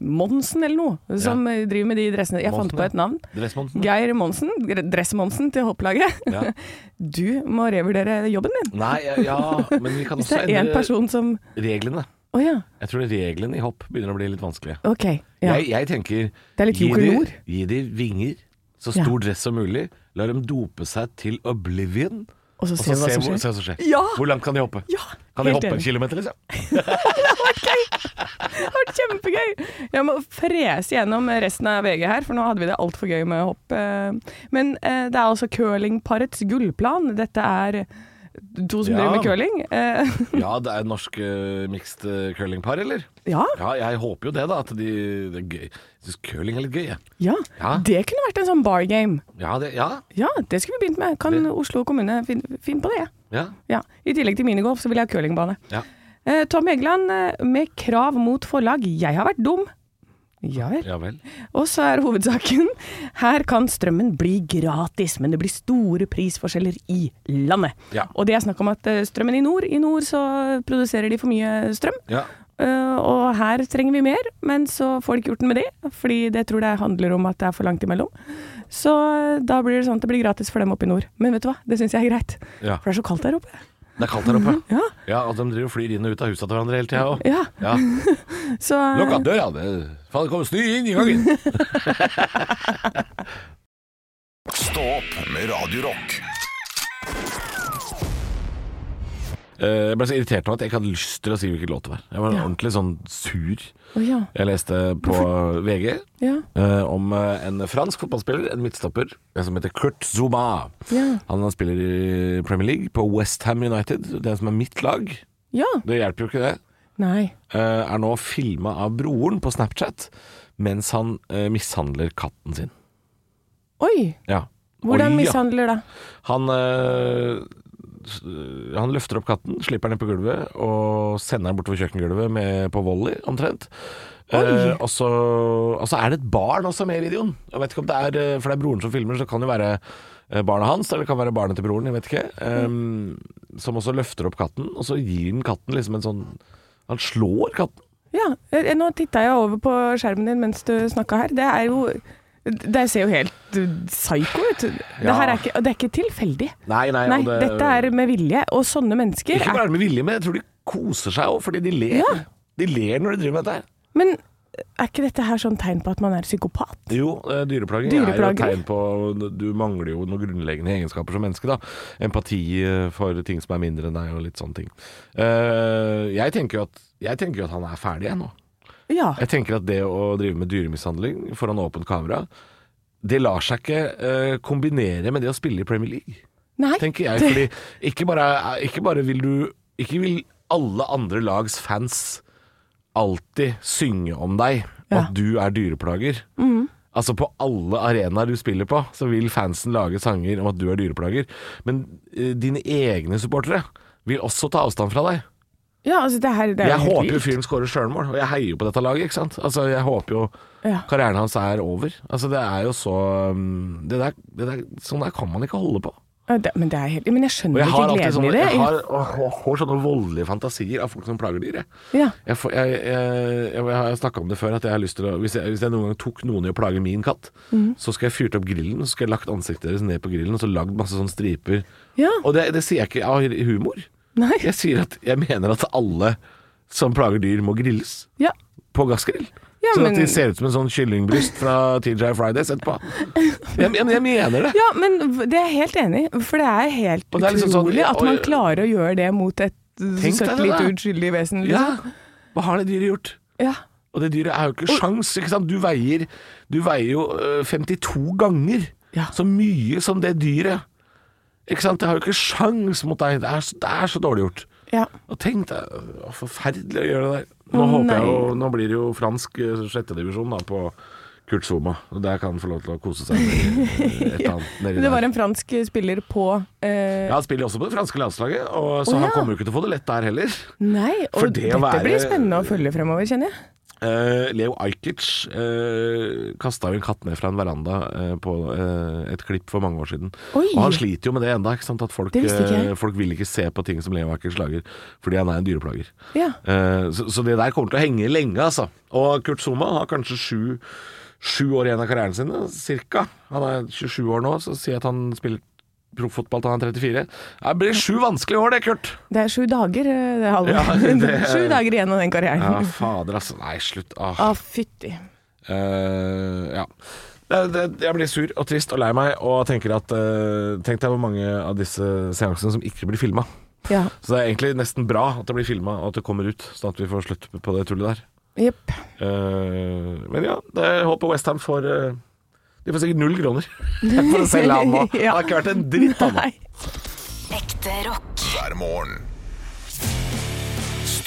Speaker 3: Monsen eller noe, som eh, driver med de dressene. Jeg
Speaker 2: Monsen,
Speaker 3: fant på et navn.
Speaker 2: Dressmonsen.
Speaker 3: Geir Monsen, Dress-Monsen til hopplaget.
Speaker 2: Ja.
Speaker 3: Du må revurdere jobben din.
Speaker 2: Nei, ja, ja, men vi kan
Speaker 3: Hvis
Speaker 2: også
Speaker 3: det er én
Speaker 2: endre
Speaker 3: person som
Speaker 2: reglene.
Speaker 3: Å ja,
Speaker 2: Jeg tror reglene i hopp begynner å bli litt vanskelige.
Speaker 3: ok. Ja.
Speaker 2: Jeg, jeg tenker
Speaker 3: Det er litt
Speaker 2: gi
Speaker 3: Joker
Speaker 2: de-
Speaker 3: Nord.
Speaker 2: Gi de vinger, så
Speaker 3: Ja.
Speaker 2: stor dress som mulig. La dem dope seg til oblivion.
Speaker 3: Og så
Speaker 2: Og
Speaker 3: ser vi hva som
Speaker 2: hvor,
Speaker 3: skjer.
Speaker 2: se hva som skjer.
Speaker 3: Ja!
Speaker 2: Hvor langt kan de hoppe?
Speaker 3: Ja,
Speaker 2: Kan de
Speaker 3: helt
Speaker 2: hoppe en
Speaker 3: enig.
Speaker 2: kilometer, liksom?
Speaker 3: Det har vært kjempegøy! Jeg må frese gjennom resten av VG her, for nå hadde vi det altfor gøy med hopp. eh. Men eh, det er altså curlingparets gullplan. Dette er to som
Speaker 2: Ja.
Speaker 3: driver med curling. Eh,
Speaker 2: Ja, det er norsk uh, mixed eh, curlingpar, eller?
Speaker 3: Ja,
Speaker 2: Ja, jeg håper jo det, da. At de det er gøy. Jeg syns curling er litt gøy, jeg.
Speaker 3: ja.
Speaker 2: Ja.
Speaker 3: Det kunne vært en sånn bar game.
Speaker 2: Ja, det, ja,
Speaker 3: Ja, det skulle vi begynt med. Kan
Speaker 2: Det-
Speaker 3: Oslo kommune finne finne på det?
Speaker 2: ja,
Speaker 3: Ja. I tillegg til minigolf, så vil jeg ha curlingbane.
Speaker 2: ja.
Speaker 3: Eh, Tom Egeland eh, med krav mot forlag. Jeg har vært dum. Ja vel.
Speaker 2: Ja vel.
Speaker 3: Og så er hovedsaken her kan strømmen bli gratis, men det blir store prisforskjeller i landet.
Speaker 2: Ja.
Speaker 3: Og det er snakk om at eh, strømmen i nord, i nord så produserer de for mye strøm.
Speaker 2: Ja.
Speaker 3: Eh, og her trenger vi mer, men så får de ikke gjort den med det, fordi det tror jeg handler om at det er for langt imellom. Så eh, da blir det sånn at det blir gratis for dem oppe i nord. Men vet du hva, det syns jeg er greit.
Speaker 2: Ja.
Speaker 3: For det er så kaldt der oppe.
Speaker 2: Det er kaldt der oppe.
Speaker 3: Ja.
Speaker 2: Ja, og de driver og flyr inn og ut av husa til hverandre hele tida òg.
Speaker 3: Ja,
Speaker 2: Ja.
Speaker 3: så eh,
Speaker 2: Lukk av døra, det faen, det kommer snø inn i gangen.
Speaker 1: Stå opp med Radio Rock.
Speaker 2: Eh, Jeg ble så irritert nå at jeg ikke hadde lyst til å si hvilken låt det var. Jeg var ordentlig sånn sur.
Speaker 3: eh, Å ja.
Speaker 2: Jeg leste på VG
Speaker 3: Ja.
Speaker 2: eh, om eh, en fransk fotballspiller, en midtstopper, eh, som heter Kurt Zuma.
Speaker 3: Ja.
Speaker 2: Han spiller i Premier League på West Ham United, det som er mitt lag.
Speaker 3: ja.
Speaker 2: Det hjelper jo ikke det.
Speaker 3: Nei.
Speaker 2: eh, er nå filma av broren på Snapchat mens han eh, mishandler katten sin.
Speaker 3: Oi!
Speaker 2: Ja.
Speaker 3: Hvordan
Speaker 2: Oi, ja.
Speaker 3: mishandler da?
Speaker 2: Han, eh, s- øh, han løfter opp katten, slipper den ned på gulvet og sender den bortover kjøkkengulvet med, på volley, omtrent. Eh, og, så, og så er det et barn også med i videoen. Jeg vet ikke om det er, eh, For det er broren som filmer, så det kan jo være eh, barnet hans, eller det kan være barnet til broren, jeg vet ikke. eh, Som også løfter opp katten, og så gir den katten liksom en sånn Han slår katten.
Speaker 3: Ja, eh, eh, nå titta jeg over på skjermen din mens du snakka her. Det er jo Det ser jo helt eh, psycho ut. Det her er ikke, og det er ikke tilfeldig.
Speaker 2: Nei, nei,
Speaker 3: Nei,
Speaker 2: og det-
Speaker 3: dette er med vilje, og sånne mennesker
Speaker 2: Ikke bare
Speaker 3: er
Speaker 2: med vilje, men jeg tror de koser seg òg, fordi de ler.
Speaker 3: Ja.
Speaker 2: De ler når de driver med dette her.
Speaker 3: Men er ikke dette her sånn tegn på at man er psykopat?
Speaker 2: Jo, eh, dyreplaging,
Speaker 3: Dyreplaging.
Speaker 2: er jo et tegn på Du mangler jo noen grunnleggende egenskaper som menneske, da. Empati eh, for ting som er mindre enn deg, og litt sånne ting. Eh, jeg tenker jo at, jeg tenker jo at han er ferdig, jeg nå.
Speaker 3: Ja.
Speaker 2: Jeg tenker at det å drive med dyremishandling foran åpent kamera, det lar seg ikke eh, kombinere med det å spille i Premier League
Speaker 3: Nei.
Speaker 2: tenker jeg. Fordi ikke bare, ikke bare vil du Ikke vil alle andre lags fans alltid synge om deg
Speaker 3: Ja. Mm.
Speaker 2: at du er dyreplager. Altså På alle arenaer du spiller på, så vil fansen lage sanger om at du er dyreplager. Men eh, dine egne supportere vil også ta avstand fra deg.
Speaker 3: Ja, altså det her det er
Speaker 2: Jeg
Speaker 3: helt
Speaker 2: håper jo
Speaker 3: vilt.
Speaker 2: fyren skårer sjølmål, og jeg heier jo på dette laget. ikke sant? Altså Jeg håper jo
Speaker 3: Ja.
Speaker 2: karrieren hans er over. Altså Det er jo så um, det der, det der, Sånn der kan man ikke holde på.
Speaker 3: Ja, det- Men, det er helt, men jeg
Speaker 2: Og
Speaker 3: skjønner
Speaker 2: jeg
Speaker 3: ikke
Speaker 2: har alltid
Speaker 3: gleden
Speaker 2: sånne,
Speaker 3: i det.
Speaker 2: jeg har, åh, jeg får sånne voldelige fantasier av folk som plager dyr. Jeg,
Speaker 3: Ja.
Speaker 2: jeg, får- jeg, jeg, jeg, jeg har snakka om det før, at jeg har lyst til å Hvis jeg, hvis jeg noen gang tok noen i å plage min katt,
Speaker 3: Mhm.
Speaker 2: så skal jeg fyrt opp grillen, så skal jeg lagt ansiktet deres ned på grillen, og så lagd masse sånne striper.
Speaker 3: Ja.
Speaker 2: Og det, det sier jeg ikke av humor.
Speaker 3: Nei.
Speaker 2: Jeg sier at jeg mener at alle som plager dyr, må grilles
Speaker 3: Ja.
Speaker 2: på gassgrill.
Speaker 3: Ja,
Speaker 2: sånn
Speaker 3: men-
Speaker 2: at de ser ut som en sånn kyllingbryst fra TJ Fridays etterpå. Jeg, jeg, jeg mener det.
Speaker 3: ja, men v- det er jeg helt enig i. For det er helt
Speaker 2: Og det er liksom sånn-
Speaker 3: utrolig at man
Speaker 2: og-
Speaker 3: klarer å gjøre det mot et
Speaker 2: deg
Speaker 3: søtt,
Speaker 2: det,
Speaker 3: lite
Speaker 2: da.
Speaker 3: uskyldig vesen.
Speaker 2: Ja.
Speaker 3: Liksom.
Speaker 2: Hva har det dyret gjort?
Speaker 3: Ja.
Speaker 2: Og det dyret er jo ikke sjans, ikke sant? Du veier, du veier jo øh, 52 ganger
Speaker 3: Ja.
Speaker 2: så mye som det dyret. Ikke sant? Det har jo ikke sjans mot deg. Det er, så- det er så dårlig gjort.
Speaker 3: Ja.
Speaker 2: Og tenk deg, øh, forferdelig å gjøre det der. Nå
Speaker 3: Å,
Speaker 2: håper jeg
Speaker 3: nei.
Speaker 2: jo, nå blir det jo fransk øh, sjette divisjon da, på Kurt Zuma. Og der kan han få lov til å kose seg med øh, et eller annet nedi
Speaker 3: Men det var
Speaker 2: der.
Speaker 3: en fransk spiller på eh,
Speaker 2: Ja, han spiller jo også på det franske landslaget, og så
Speaker 3: Å,
Speaker 2: han
Speaker 3: ja.
Speaker 2: kommer jo ikke til å få det lett der heller.
Speaker 3: Nei,
Speaker 2: For
Speaker 3: og
Speaker 2: det
Speaker 3: dette
Speaker 2: å være-
Speaker 3: blir spennende å følge fremover, kjenner jeg.
Speaker 2: Eh, Leo Ajkic uh, kasta jo en katt ned fra en veranda eh, på eh, et klipp for mange år siden.
Speaker 3: Oi.
Speaker 2: Og han sliter jo med det enda, ikke sant? at folk,
Speaker 3: Det visste ikke jeg.
Speaker 2: eh, folk vil ikke se på ting som Leo Ajkic lager, fordi han er en dyreplager.
Speaker 3: Ja.
Speaker 2: Eh, så, så det der kommer til å henge lenge, altså. Og Kurt Zuma har kanskje sju, sju år igjen av karrieren sin, cirka. Han er 27 år nå, så si at han spiller profffotball til han er 34. Det blir sju vanskelige år det, Kurt!
Speaker 3: Det er sju dager, eh, det er halvår.
Speaker 2: Ja, det-
Speaker 3: sju dager igjen av den
Speaker 2: Ja,
Speaker 3: karrieren. Å,
Speaker 2: fader, altså. Nei, slutt. Ah.
Speaker 3: fytti.
Speaker 2: Eh, ja. Det, det, jeg blir sur og trist og lei meg, og tenker at eh, Tenk deg hvor mange av disse seansene som ikke blir filma.
Speaker 3: Ja.
Speaker 2: Så det er egentlig nesten bra at det blir filma, og at det kommer ut, sånn at vi får slutt på det tullet der.
Speaker 3: Jepp.
Speaker 2: Eh, men ja, det jeg håper Westham får eh, De får sikkert null kroner for å selge han nå. Han har ikke vært en dritt, han nå.
Speaker 3: Nei.
Speaker 4: Ekte rock.
Speaker 1: hver morgen.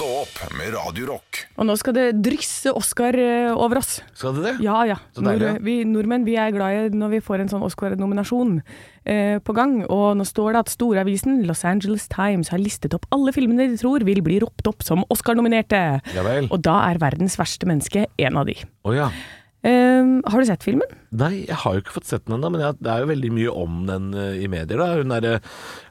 Speaker 1: Stå opp med Radio Rock.
Speaker 3: Og nå skal det drysse Oscar eh, over oss.
Speaker 2: Skal de det?
Speaker 3: Ja, ja.
Speaker 2: Så deilig,
Speaker 3: Nord-
Speaker 2: ja.
Speaker 3: vi nordmenn vi er glad i når vi får en sånn Oscar-nominasjon eh, på gang. Og nå står det at storavisen Los Angeles Times har listet opp alle filmene de tror vil bli ropt opp som Oscar-nominerte.
Speaker 2: Ja vel.
Speaker 3: Og da er verdens verste menneske en av de.
Speaker 2: Å ja.
Speaker 3: Eh, har du sett filmen?
Speaker 2: Nei, jeg har jo ikke fått sett den ennå, men jeg, det er jo veldig mye om den eh, i medier. da. Hun derre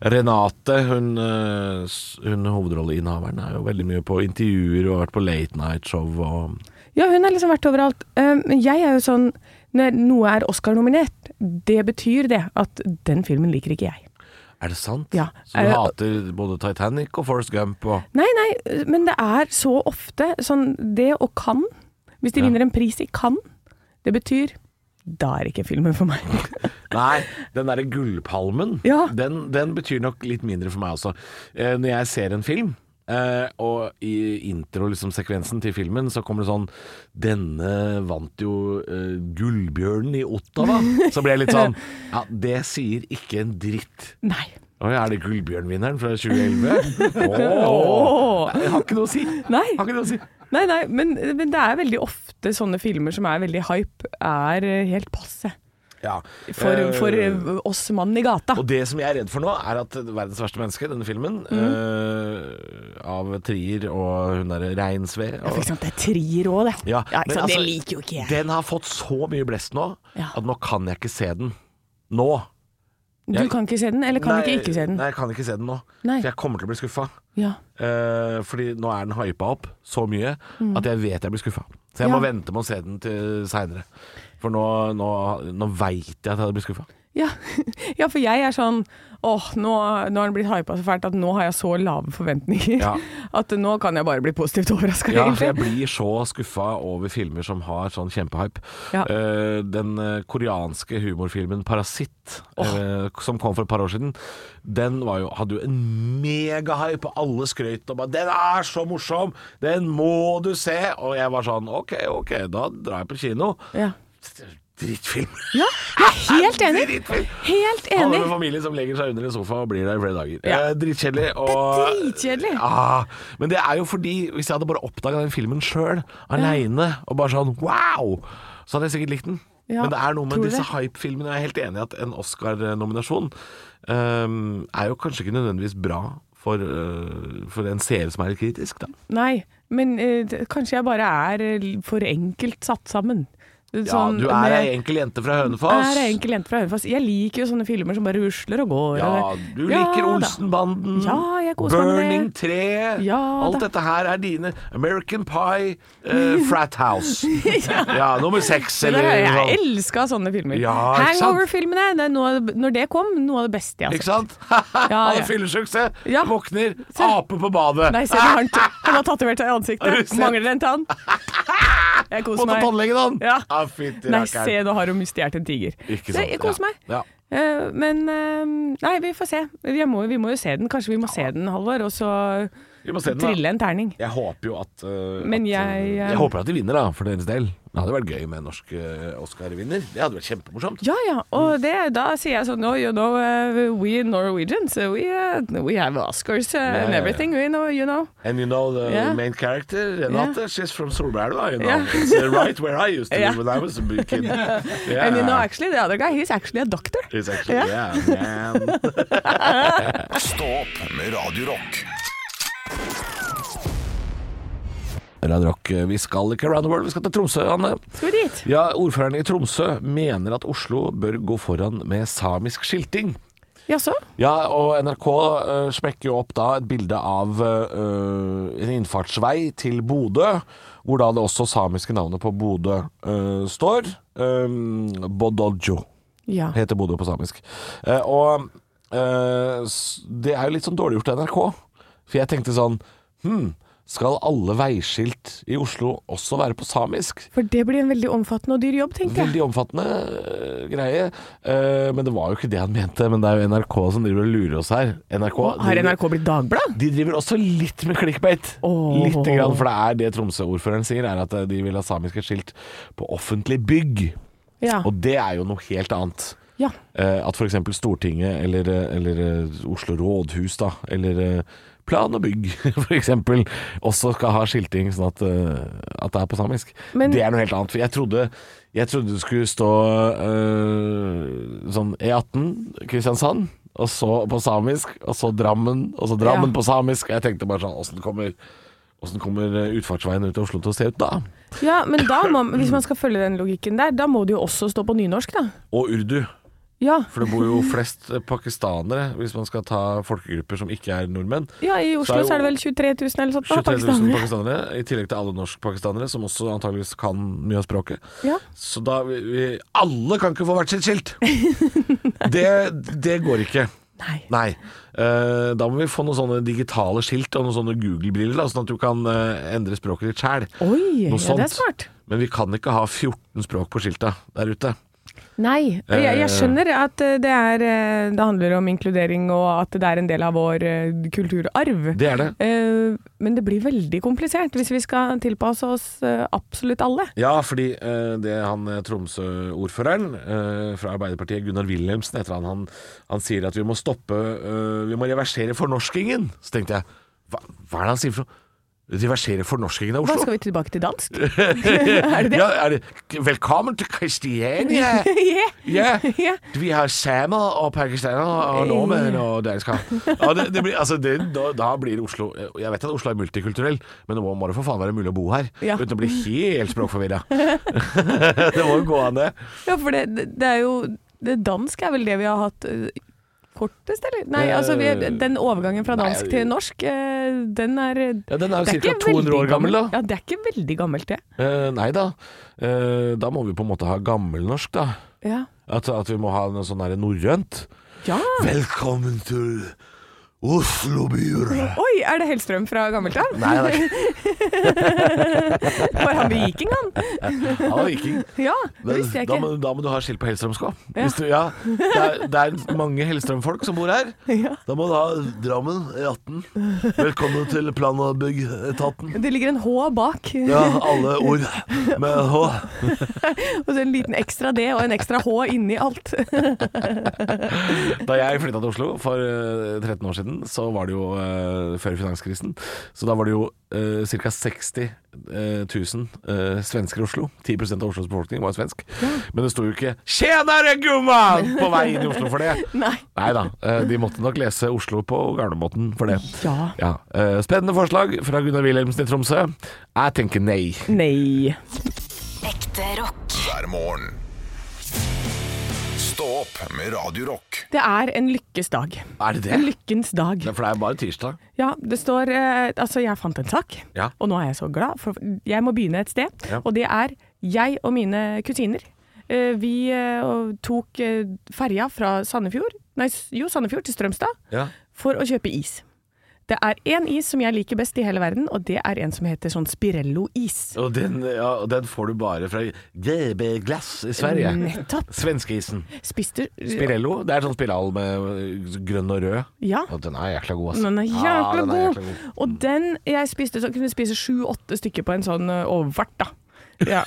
Speaker 2: Renate, hun, eh, s- hun hovedrolleinnehaveren, er jo veldig mye på intervjuer og har vært på late night show og
Speaker 3: Ja, hun har liksom vært overalt. Eh, Men jeg er jo sånn Når noe er Oscar-nominert, det betyr det at den filmen liker ikke jeg.
Speaker 2: Er det sant?
Speaker 3: Ja.
Speaker 2: Så hun
Speaker 3: Eh,
Speaker 2: hater både Titanic og Forrest Gump og
Speaker 3: Nei, nei, eh, men det er så ofte sånn Det og kan Hvis de
Speaker 2: Ja.
Speaker 3: vinner en pris i Cannes, det betyr da er ikke filmen for meg.
Speaker 2: Nei, den derre gullpalmen,
Speaker 3: Ja.
Speaker 2: den, den betyr nok litt mindre for meg også. Eh, når jeg ser en film, eh, og i intro-sekvensen til filmen, så kommer det sånn Denne vant jo eh, Gullbjørnen i Ottawa. Så blir jeg litt sånn Ja, det sier ikke en dritt.
Speaker 3: Nei.
Speaker 2: Oi, er det Gullbjørnvinneren fra 2011?
Speaker 3: Åh.
Speaker 2: Jeg har ikke noe å si.
Speaker 3: Nei.
Speaker 2: Har ikke noe å si.
Speaker 3: Nei, nei, men, men det er veldig ofte sånne filmer som er veldig hype, er eh, helt passe
Speaker 2: Ja.
Speaker 3: for,
Speaker 2: Eh,
Speaker 3: for eh, oss mann i gata.
Speaker 2: Og det som jeg er redd for nå, er at 'Verdens verste menneske', denne filmen,
Speaker 3: Mhm.
Speaker 2: eh, av Trier og hun derre Reinsve
Speaker 3: Ja, for
Speaker 2: og,
Speaker 3: ikke sant, det er trier òg, det.
Speaker 2: Ja,
Speaker 3: ikke
Speaker 2: men
Speaker 3: sant,
Speaker 2: altså,
Speaker 3: det liker jo ikke jeg.
Speaker 2: Den har fått så mye blest nå
Speaker 3: Ja.
Speaker 2: at nå kan jeg ikke se den. Nå.
Speaker 3: Du
Speaker 2: jeg-
Speaker 3: kan ikke se den, eller kan ikke ikke se den?
Speaker 2: Nei, jeg kan ikke se den nå.
Speaker 3: Nei.
Speaker 2: For jeg kommer til å bli skuffa.
Speaker 3: Ja.
Speaker 2: Eh, fordi nå er den hypa opp så mye at jeg vet jeg blir skuffa. Så jeg må
Speaker 3: Mhm. Ja.
Speaker 2: vente med å se den til seinere. For nå, nå, nå veit jeg at jeg blir skuffa.
Speaker 3: Ja. ja, for jeg er sånn Åh, nå, nå har den blitt hypa så fælt at nå har jeg så lave forventninger
Speaker 2: Ja.
Speaker 3: at nå kan jeg bare bli positivt overraska,
Speaker 2: Ja, for jeg
Speaker 3: egentlig.
Speaker 2: blir så skuffa over filmer som har sånn kjempehype.
Speaker 3: Ja.
Speaker 2: Eh, den eh, koreanske humorfilmen 'Parasitt', eh, som kom for et par år siden, den var jo, hadde jo en megahype, og alle skrøt og bare 'Den er så morsom! Den må du se!' Og jeg var sånn OK, OK, da drar jeg på kino.
Speaker 3: Ja.
Speaker 2: Drittfilm.
Speaker 3: ja, jeg er helt enig!
Speaker 2: Drittfilm.
Speaker 3: Helt
Speaker 2: Alle
Speaker 3: enig!
Speaker 2: med familie som legger seg under en sofa og blir der i flere dager.
Speaker 3: Ja.
Speaker 2: Eh, dritkjedelig. Og...
Speaker 3: dritkjedelig.
Speaker 2: Ah, men det er jo fordi hvis jeg hadde bare oppdaga den filmen sjøl, aleine, og bare sånn wow, så hadde jeg sikkert likt den.
Speaker 3: Ja,
Speaker 2: men det er noe med
Speaker 3: tror du
Speaker 2: disse
Speaker 3: det?
Speaker 2: hype-filmene. Jeg er helt enig i at en Oscar-nominasjon ehm, er jo kanskje ikke nødvendigvis bra for, eh, for en seer som er litt kritisk, da.
Speaker 3: Nei, men eh, det- kanskje jeg bare er eh, for enkelt satt sammen. Sånn
Speaker 2: ja, du er ei
Speaker 3: med-
Speaker 2: enkel jente fra
Speaker 3: Jeg
Speaker 2: Hønefoss.
Speaker 3: er ei enkel jente fra Hønefoss. Jeg liker jo sånne filmer som bare rusler og går.
Speaker 2: Ja,
Speaker 3: og-
Speaker 2: du
Speaker 3: Ja
Speaker 2: liker
Speaker 3: da.
Speaker 2: Olsenbanden,
Speaker 3: Ja, jeg koser meg med det.
Speaker 2: Burning 3
Speaker 3: Ja
Speaker 2: Alt
Speaker 3: da.
Speaker 2: dette her er dine. American Pie, eh, Frat House. ja. nummer seks,
Speaker 3: Det der
Speaker 2: eller sånn.
Speaker 3: har jeg
Speaker 2: noe
Speaker 3: jeg
Speaker 2: sånt.
Speaker 3: elska sånne filmer.
Speaker 2: Ja, ikke sant?
Speaker 3: Hangover-filmene, det er noe- når det kom, noe av det beste jeg har
Speaker 2: Ikke
Speaker 3: sett.
Speaker 2: sant?
Speaker 3: Ja,
Speaker 2: Han
Speaker 3: ja.
Speaker 2: er fyllesyk, se.
Speaker 3: Ja.
Speaker 2: Våkner,
Speaker 3: Se.
Speaker 2: ape på badet.
Speaker 3: Nei, se det har han t- Han har tatovert seg i
Speaker 2: Har du
Speaker 3: ansiktet.
Speaker 2: sett?
Speaker 3: Mangler en tann. Jeg
Speaker 2: Må
Speaker 3: koser
Speaker 2: til
Speaker 3: meg.
Speaker 2: tannlegen, han.
Speaker 3: Ja.
Speaker 2: Ah, fytti
Speaker 3: Nei,
Speaker 2: rakkeren.
Speaker 3: se, nå har hun stjålet en tiger.
Speaker 2: Ikke
Speaker 3: Så
Speaker 2: sant,
Speaker 3: Jeg koser
Speaker 2: ja.
Speaker 3: meg.
Speaker 2: Ja.
Speaker 3: Eh, men eh, Nei, vi får se. Vi må, vi må jo se den. Kanskje vi må se den, Halvor, og så
Speaker 2: Vi må se den, da.
Speaker 3: trille en terning.
Speaker 2: Jeg håper jo at, eh,
Speaker 3: Men
Speaker 2: at eh,
Speaker 3: jeg, eh,
Speaker 2: jeg håper at de vinner, da, for deres del. Det hadde vært gøy med en norsk eh, Oscar-vinner. Det hadde vært kjempemorsomt.
Speaker 3: Ja, ja.
Speaker 2: Mm.
Speaker 3: Og det, da sier jeg sånn No, you know, uh, we Norwegians, uh, we, uh, we have Oscars uh,
Speaker 2: ja,
Speaker 3: and
Speaker 2: ja.
Speaker 3: everything, we know, you know.
Speaker 2: And you know the
Speaker 3: Yeah.
Speaker 2: main character, Renate, she's from Solbergelva, you know.
Speaker 3: Yeah.
Speaker 2: It's uh, right where I used to
Speaker 3: Yeah.
Speaker 2: live when I was a big kid. Yeah.
Speaker 3: And you know, actually, the other guy, he's actually a doctor.
Speaker 2: It's actually, yeah, man.
Speaker 1: Stå opp med Radio Rock.
Speaker 2: Radio Rock, eh, vi skal ikke around the world, vi skal til Tromsø, Anne.
Speaker 3: Skal vi dit?
Speaker 2: Ja, ordføreren i Tromsø mener at Oslo bør gå foran med samisk skilting.
Speaker 3: Jaså?
Speaker 2: Ja, og NRK eh, smekker jo opp da et bilde av eh, en innfartsvei til Bodø, hvor da det også samiske navnet på Bodø eh, står. Um, Bodojo.
Speaker 3: Ja.
Speaker 2: heter Bodø på samisk. Eh, og eh, s- det er jo litt sånn dårlig gjort av NRK. For jeg tenkte sånn Hm, skal alle veiskilt i Oslo også være på samisk?
Speaker 3: For det blir en veldig omfattende og dyr jobb, tenkte jeg.
Speaker 2: Veldig omfattende eh, greie. Eh, men det var jo ikke det han mente. Men det er jo NRK som driver og lurer oss her. NRK,
Speaker 3: Har
Speaker 2: driver-
Speaker 3: NRK blitt Dagblad?
Speaker 2: de driver også litt med clickbait.
Speaker 3: Åh.
Speaker 2: Litt, grann, for det er det Tromsø-ordføreren sier, er at eh, de vil ha samiske skilt på offentlig bygg.
Speaker 3: Ja.
Speaker 2: Og det er jo noe helt annet.
Speaker 3: ja.
Speaker 2: Eh, At f.eks. Stortinget eller, eh, eller eh, Oslo rådhus, da, eller eh, plan og bygg f.eks., også skal ha skilting sånn at, eh, at det er på samisk.
Speaker 3: Men-
Speaker 2: det er noe helt annet. For jeg trodde, jeg trodde det skulle stå eh, sånn E18 Kristiansand. Og så på samisk, og så Drammen, og så Drammen
Speaker 3: Ja.
Speaker 2: på samisk. Og jeg tenkte bare sånn Åssen kommer, hvordan kommer eh, utfartsveien ut til Oslo til å se ut da?
Speaker 3: ja, men da må, hvis man skal følge den logikken der, da må det jo også stå på nynorsk, da.
Speaker 2: Og urdu.
Speaker 3: Ja,
Speaker 2: For det bor jo flest eh, pakistanere, hvis man skal ta folkegrupper som ikke er nordmenn.
Speaker 3: ja i Oslo
Speaker 2: jo-
Speaker 3: så er det vel 23 000 eller sånt, da,
Speaker 2: 23 000
Speaker 3: pakistanere.
Speaker 2: pakistanere, i tillegg til alle norskpakistanere, som også antageligvis kan mye av språket.
Speaker 3: Ja.
Speaker 2: Så da vi, vi, Alle kan ikke få hvert sitt skilt! det, det går ikke.
Speaker 3: Nei.
Speaker 2: Nei. Eh, da må vi få noen sånne digitale skilt og noen sånne Google-briller, da, sånn at du kan eh, endre språket ditt sjæl.
Speaker 3: Oi,
Speaker 2: Noe
Speaker 3: ja, det er
Speaker 2: sånt.
Speaker 3: smart.
Speaker 2: Men vi kan ikke ha 14 språk på skilta der ute.
Speaker 3: Nei. Jeg, jeg skjønner at eh, det, er, eh, det handler om inkludering, og at det er en del av vår eh, kulturarv.
Speaker 2: Det er det.
Speaker 3: Eh, Men det blir veldig komplisert hvis vi skal tilpasse oss eh, absolutt alle.
Speaker 2: Ja, fordi eh, det han eh, Tromsø-ordføreren eh, fra Arbeiderpartiet, Gunnar Wilhelmsen, heter han, han, han sier at vi må stoppe eh, Vi må reversere fornorskingen. Så tenkte jeg, hva, hva er det han sier for noe? Reversere fornorskingen av
Speaker 3: Hva
Speaker 2: Oslo?
Speaker 3: skal vi tilbake til dansk?
Speaker 2: er det det? Ja, er det? Velkommen til Kristiania!
Speaker 3: yeah.
Speaker 2: Ja,
Speaker 3: Ja.
Speaker 2: vi har samer og pakistanere og nordmenn og dansker. Ja, det, det blir, altså det, da, da blir Oslo Jeg vet at Oslo er multikulturell, men nå må- må det for faen være mulig å bo her
Speaker 3: Ja.
Speaker 2: uten å bli helt språkforvirra. det må jo gå an, det.
Speaker 3: Ja, for det, det- det er jo det Dansk er vel det vi har hatt eh, kortest, eller? Nei,
Speaker 2: Eh,
Speaker 3: altså vi, den overgangen fra
Speaker 2: nei,
Speaker 3: dansk til norsk, eh, den er
Speaker 2: Ja, Den er jo
Speaker 3: det
Speaker 2: ca.
Speaker 3: er ikke
Speaker 2: 200 år
Speaker 3: veldig
Speaker 2: gammel, da.
Speaker 3: Ja, det er ikke veldig gammelt, det.
Speaker 2: Eh, nei da. Eh, da må vi på en måte ha gammelnorsk, da.
Speaker 3: Ja.
Speaker 2: At, at vi må ha noe sånn her norrønt.
Speaker 3: ja.
Speaker 2: Velkommen til Oslo-byer.
Speaker 3: Oi, er det Hellstrøm fra gammelt av?
Speaker 2: Nei, det er ikke
Speaker 3: Var han viking, han?
Speaker 2: han er viking.
Speaker 3: Ja, det
Speaker 2: Men
Speaker 3: visste jeg
Speaker 2: da, må,
Speaker 3: ikke.
Speaker 2: da må du ha skilt på Hellstrømska. Hvis du, ja, det, er, det er mange Hellstrøm-folk som bor her.
Speaker 3: Ja.
Speaker 2: Da må du ha Drammen, E18. Velkommen til plan- og byggetaten.
Speaker 3: Det ligger en H bak,
Speaker 2: Ja, alle ord med H.
Speaker 3: og så en liten ekstra D og en ekstra H inni alt.
Speaker 2: Da jeg flytta til Oslo for eh, 13 år siden, så var det jo eh, før finanskrisen, så da var det jo uh, ca. 60 eh, 000 eh, svensker i Oslo. 10 av Oslos befolkning var svensk. Men det sto jo ikke 'Tjenere, gumman!' på vei inn i Oslo for det.
Speaker 3: Nei.
Speaker 2: Nei da, eh, de måtte nok lese Oslo på garnemåten for det.
Speaker 3: Ja.
Speaker 2: Ja. eh, Spennende forslag fra Gunnar Wilhelmsen i Tromsø. Jeg tenker nei.
Speaker 3: Nei.
Speaker 4: Ekte rock.
Speaker 1: hver morgen. Stå opp med Radio Rock.
Speaker 3: Det er en lykkes dag.
Speaker 2: Er det
Speaker 3: En lykkens dag.
Speaker 2: For det er bare tirsdag.
Speaker 3: Ja, det står eh, Altså, jeg fant en sak,
Speaker 2: Ja.
Speaker 3: og nå er jeg så glad, for jeg må begynne et sted.
Speaker 2: Ja.
Speaker 3: Og det er jeg og mine kusiner. eh, Vi eh, og tok eh, ferja fra Sandefjord, nei, s- jo, Sandefjord til Strømstad for å kjøpe is. Det er én is som jeg liker best i hele verden, og det er en som heter sånn Spirello-is.
Speaker 2: Og den, ja, og den får du bare fra GB Glass i Sverige.
Speaker 3: Nettopp.
Speaker 2: Svenskeisen.
Speaker 3: Spiste
Speaker 2: Spirello. Det er sånn spiral med eh, grønn og rød.
Speaker 3: Ja.
Speaker 2: Og den er jækla god, ass.
Speaker 3: Den er jækla,
Speaker 2: Ja, den er
Speaker 3: god.
Speaker 2: jækla god.
Speaker 3: Og den jeg spiste, så kunne jeg spise sju-åtte stykker på en sånn eh, overfart, da. Ja.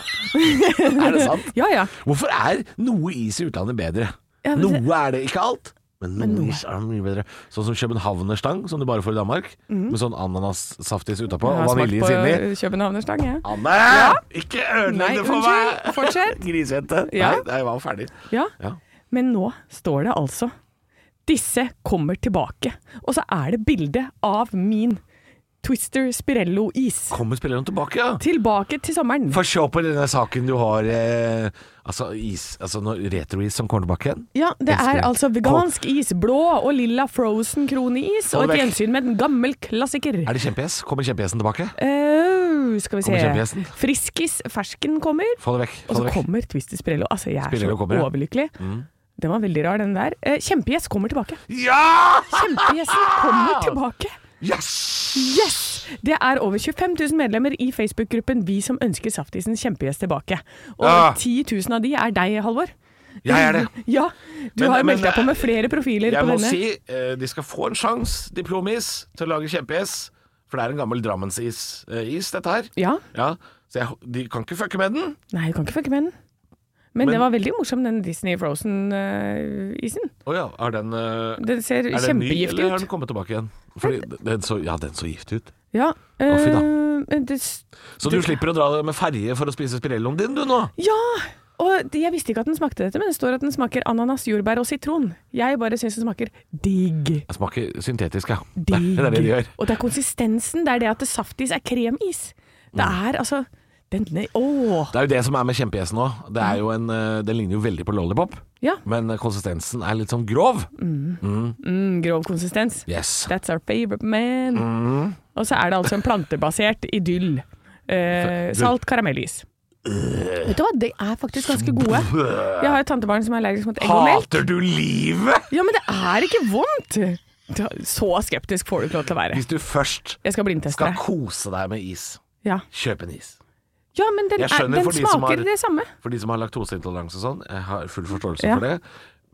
Speaker 2: Er det sant?
Speaker 3: ja ja.
Speaker 2: Hvorfor er noe is i utlandet bedre?
Speaker 3: Ja, men
Speaker 2: noe
Speaker 3: det-
Speaker 2: er det, ikke alt. Men noe, is er mye bedre. Sånn som københavnerstang, som du bare får i Danmark. Med sånn ananassaftis utapå
Speaker 3: Jeg har
Speaker 2: og
Speaker 3: smakt
Speaker 2: vaniljeis inni.
Speaker 3: Mhm. på Københavnerstang, jeg.
Speaker 2: Anne! Ikke ødelegg
Speaker 3: Nei,
Speaker 2: det for meg!
Speaker 3: unnskyld. Fortsett.
Speaker 2: Grisejente.
Speaker 3: Ja.
Speaker 2: Nei, jeg var ferdig.
Speaker 3: Ja.
Speaker 2: Ja.
Speaker 3: Men nå står det altså Disse kommer tilbake. Og så er det bilde av min Twister Spirello-is.
Speaker 2: Kommer spillerne tilbake, ja?
Speaker 3: Tilbake til sommeren.
Speaker 2: Få se på denne saken du har eh, Altså is Altså noe retrois som kommer tilbake igjen.
Speaker 3: Ja, det
Speaker 2: Elsker
Speaker 3: er
Speaker 2: det.
Speaker 3: altså vegansk is. Blå og lilla frozen kroneis. Og
Speaker 2: Hold
Speaker 3: et
Speaker 2: vekk.
Speaker 3: gjensyn med en gammel klassiker.
Speaker 2: Er det kjempegjess? Kommer kjempegjessen tilbake?
Speaker 3: Au, skal
Speaker 2: Kommer
Speaker 3: vi se.
Speaker 2: kjempegjesten?
Speaker 3: Friskis fersken kommer.
Speaker 2: Få det vekk.
Speaker 3: Og
Speaker 2: Få
Speaker 3: så
Speaker 2: det vekk.
Speaker 3: kommer Twister Spirello. Altså, jeg er
Speaker 2: Spirello
Speaker 3: så
Speaker 2: kommer, ja. Mm.
Speaker 3: overlykkelig. Den var veldig rar, den der. Eh, Kjempegjess kommer tilbake.
Speaker 2: Ja!
Speaker 3: Kjempegjessen kommer
Speaker 2: Ah!
Speaker 3: tilbake.
Speaker 2: Yes!
Speaker 3: Yes! Det er over 25 000 medlemmer i Facebook-gruppen Vi som ønsker saftisen kjempegjest tilbake. Og
Speaker 2: Ja.
Speaker 3: 10 000 av de er deg, Halvor.
Speaker 2: Ah! Jeg er det.
Speaker 3: Ja, Du
Speaker 2: Men-
Speaker 3: har
Speaker 2: men-
Speaker 3: meldt deg på med flere profiler
Speaker 2: Jeg
Speaker 3: på
Speaker 2: må
Speaker 3: denne.
Speaker 2: si eh, de skal få en sjanse, Diplomis, til å lage kjempegjess. For det er en gammel Drammensis-is, dette her.
Speaker 3: Ja.
Speaker 2: Så jeg, de kan ikke fucke med den.
Speaker 3: Nei, du kan ikke fucke med den. Men,
Speaker 2: Men-
Speaker 3: det var veldig morsom, den Disney Frozen-isen.
Speaker 2: Å ja, er den eh,
Speaker 3: den ser
Speaker 2: Er den ny,
Speaker 3: kjempegiftig
Speaker 2: eller har
Speaker 3: ut.
Speaker 2: den kommet tilbake igjen? Fordi den så, ja, den så gift ut.
Speaker 3: Ja,
Speaker 2: fy da.
Speaker 3: øh, men det, s-
Speaker 2: Så du slipper å dra med ferje for å spise spirelloen din, du nå?
Speaker 3: ja! Og det- jeg visste ikke at den smakte dette, men det står at den smaker ananas, jordbær og sitron. Jeg bare syns den smaker digg.
Speaker 2: Jeg smaker syntetisk, ja. Det
Speaker 3: Digg.
Speaker 2: er det de gjør.
Speaker 3: Og det er konsistensen. Det er det at det saftis er kremis. Det
Speaker 2: Mm.
Speaker 3: er altså Denne Åh!
Speaker 2: Det er jo det som er med kjempegjessen òg. Det er jo en, eh, Den ligner jo veldig på lollipop,
Speaker 3: Ja.
Speaker 2: men konsistensen er litt sånn grov.
Speaker 3: Mm, grov konsistens.
Speaker 2: Yes.
Speaker 3: That's our favorite man.
Speaker 2: Mm.
Speaker 3: Og så er det altså en plantebasert idyll. Eh, salt karamellis.
Speaker 2: Øh.
Speaker 3: Vet du hva, de er faktisk ganske gode. Jeg har et tantebarn som er allergisk mot egg og melk.
Speaker 2: Hater du livet?!
Speaker 3: Ja, men det er ikke vondt! Da- Så skeptisk får du ikke lov til å være.
Speaker 2: Hvis du først
Speaker 3: Jeg skal blindteste
Speaker 2: skal
Speaker 3: deg.
Speaker 2: kose deg med is,
Speaker 3: Ja.
Speaker 2: kjøp en is.
Speaker 3: Ja, men den,
Speaker 2: Jeg
Speaker 3: er,
Speaker 2: skjønner
Speaker 3: den
Speaker 2: for de som
Speaker 3: smaker
Speaker 2: har-
Speaker 3: det samme.
Speaker 2: For de som har laktoseintoleranse og sånn, jeg har full forståelse
Speaker 3: Ja.
Speaker 2: for det.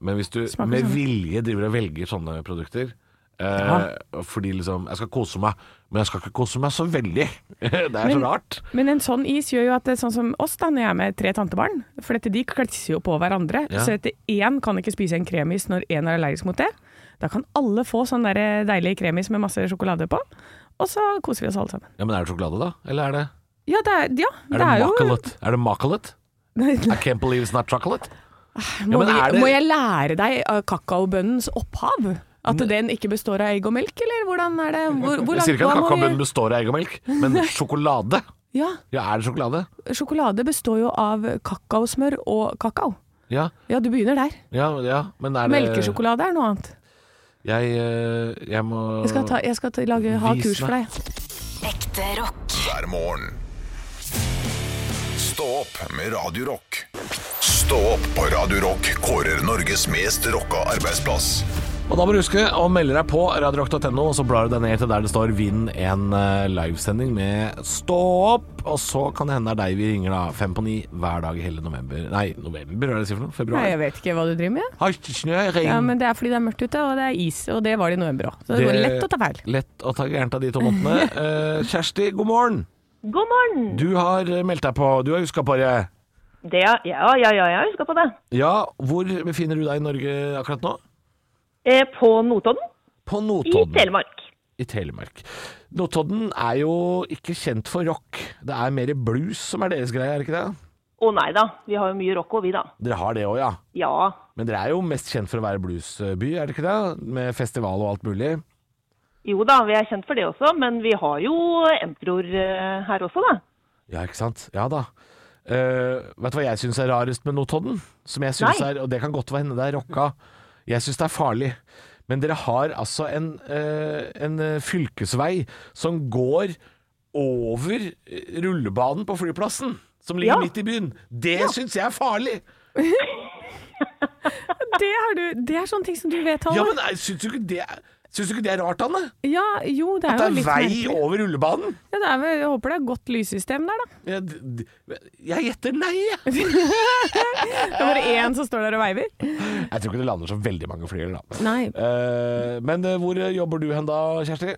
Speaker 2: Men hvis du
Speaker 3: Smaker
Speaker 2: med
Speaker 3: sånn.
Speaker 2: vilje driver og velger sånne produkter eh, Fordi liksom Jeg skal kose meg, men jeg skal ikke kose meg så veldig. det er så
Speaker 3: Men-
Speaker 2: rart.
Speaker 3: Men en sånn is gjør jo at det er sånn som oss da, når jeg er med tre tantebarn, for dette de klisser jo på hverandre,
Speaker 2: Ja.
Speaker 3: så dette én kan ikke spise en kremis når én er allergisk mot det. Da kan alle få sånn der deilig kremis med masse sjokolade på, og så koser vi oss alle sammen.
Speaker 2: Ja, Men er det sjokolade, da? Eller er det
Speaker 3: Ja, det er, ja,
Speaker 2: Er
Speaker 3: det
Speaker 2: det,
Speaker 3: er jo
Speaker 2: macalat? Er det macalat?
Speaker 3: Nei,
Speaker 2: I can't believe it's not chocolate.
Speaker 3: må,
Speaker 2: men
Speaker 3: vi,
Speaker 2: er det-
Speaker 3: må jeg lære deg av kakaobønnens opphav? At den ikke består av egg og melk, eller hvordan er det? Hvor, hvor
Speaker 2: Jeg sier
Speaker 3: langt,
Speaker 2: ikke at
Speaker 3: hva må
Speaker 2: kakaobønnen
Speaker 3: vi-
Speaker 2: består av egg og melk, men sjokolade
Speaker 3: Ja,
Speaker 2: Ja, er det sjokolade?
Speaker 3: sjokolade består jo av kakaosmør og kakao.
Speaker 2: Ja,
Speaker 3: Ja, du begynner der.
Speaker 2: ja, ja men er det
Speaker 3: Melkesjokolade er noe annet.
Speaker 2: Jeg, eh, jeg må
Speaker 3: Jeg skal, ta, jeg skal ta, lage, ha
Speaker 2: Vis
Speaker 3: kurs for
Speaker 2: meg.
Speaker 3: deg.
Speaker 4: Ekte rock.
Speaker 1: hver morgen. Stå opp med Radio Rock. Stå opp på Radio Rock kårer Norges mest rocka arbeidsplass.
Speaker 2: Og da må du huske å melde deg på radiorock.no, og så blar du deg ned til der det står 'Vinn en eh, livesending med Stå opp'. Og så kan det hende det er deg vi ringer da, fem på ni hver dag i hele november. Nei, november, hva er det jeg sier for noe?
Speaker 3: Nei, jeg
Speaker 2: Februar?
Speaker 3: vet ikke hva du driver med.
Speaker 2: Har ikke snø, ring.
Speaker 3: Ja, men Det er fordi det er mørkt ute, og det er is. Og det var det i november òg. Så det, går lett å ta feil.
Speaker 2: Lett å ta gærent av de to månedene. Eh, Kjersti, god morgen.
Speaker 7: God morgen!
Speaker 2: Du har meldt deg på. Du har huska på det.
Speaker 7: Det, ja, ja, ja, ja, jeg husker på det.
Speaker 2: Ja, hvor befinner du deg i Norge akkurat nå?
Speaker 7: Eh, på Notodden
Speaker 2: På
Speaker 7: i
Speaker 2: Notodden.
Speaker 7: Telemark.
Speaker 2: I Telemark. Notodden er jo ikke kjent for rock. Det er mer blues som er deres greie, er det ikke det?
Speaker 7: Å nei da, vi har jo mye rock og vi da.
Speaker 2: Dere har det òg, ja.
Speaker 7: Ja,
Speaker 2: Men dere er jo mest kjent for å være bluesby, er det ikke det? Med festival og alt mulig.
Speaker 7: jo da, vi er kjent for det også, men vi har jo Emperor eh, her også da.
Speaker 2: Ja, ikke sant? Ja da. Eh, vet du hva jeg syns er rarest med Notodden? Som jeg synes
Speaker 7: Nei.
Speaker 2: er, Og det kan godt hende det er rocka. Jeg syns det er farlig. Men dere har altså en, eh, en eh, fylkesvei som går over eh, rullebanen på flyplassen, som ligger
Speaker 7: Ja.
Speaker 2: midt i byen. Det syns jeg er farlig!
Speaker 3: Det er, du, det er sånne ting som du vet,
Speaker 2: Ja,
Speaker 3: Halvor.
Speaker 2: men nei, syns du ikke det er- Syns du ikke det er rart, Anne?
Speaker 3: Ja, jo, det
Speaker 2: At
Speaker 3: er
Speaker 2: det
Speaker 3: jo
Speaker 2: er
Speaker 3: litt
Speaker 2: vei
Speaker 3: merkelig.
Speaker 2: over rullebanen?
Speaker 3: Ja, det er vel, jeg håper det er godt lyssystem der, da.
Speaker 2: Jeg, d- d- jeg gjetter nei, jeg.
Speaker 3: Det er bare én som står der og veiver.
Speaker 2: Jeg tror ikke det lander så veldig mange flyer, da.
Speaker 3: Nei.
Speaker 2: Eh, men eh, hvor eh, jobber du hen da, Kjersti?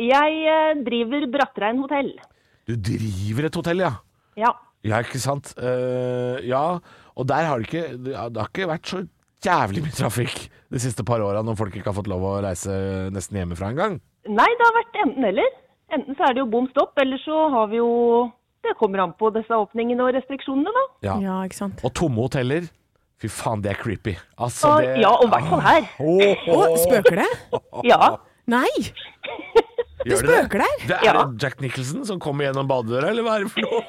Speaker 7: Jeg eh, driver Brattrein Hotell.
Speaker 2: Du driver et hotell, ja.
Speaker 7: Ja,
Speaker 2: Ja, ikke sant. Eh, ja, og der har det ikke Det det har ikke vært så jævlig mye trafikk de siste par åra når folk ikke har fått lov å reise nesten hjemmefra engang.
Speaker 7: nei det har vært enten eller. Enten så er det jo bom stopp, eller så har vi jo, det kommer an på disse åpningene og restriksjonene da.
Speaker 2: Ja.
Speaker 3: Ja, ikke sant.
Speaker 2: Og tomme hoteller. Fy faen, det er creepy. Altså,
Speaker 7: Og,
Speaker 2: det
Speaker 7: ja, og i hvert fall her.
Speaker 2: Åh,
Speaker 3: Å, spøker det?
Speaker 7: Ja,
Speaker 3: Nei! Det
Speaker 2: gjør det det?
Speaker 3: spøker der!
Speaker 2: Det er
Speaker 7: Ja.
Speaker 2: det Jack Nicholson som kommer gjennom badedøra, eller hva er det for noe?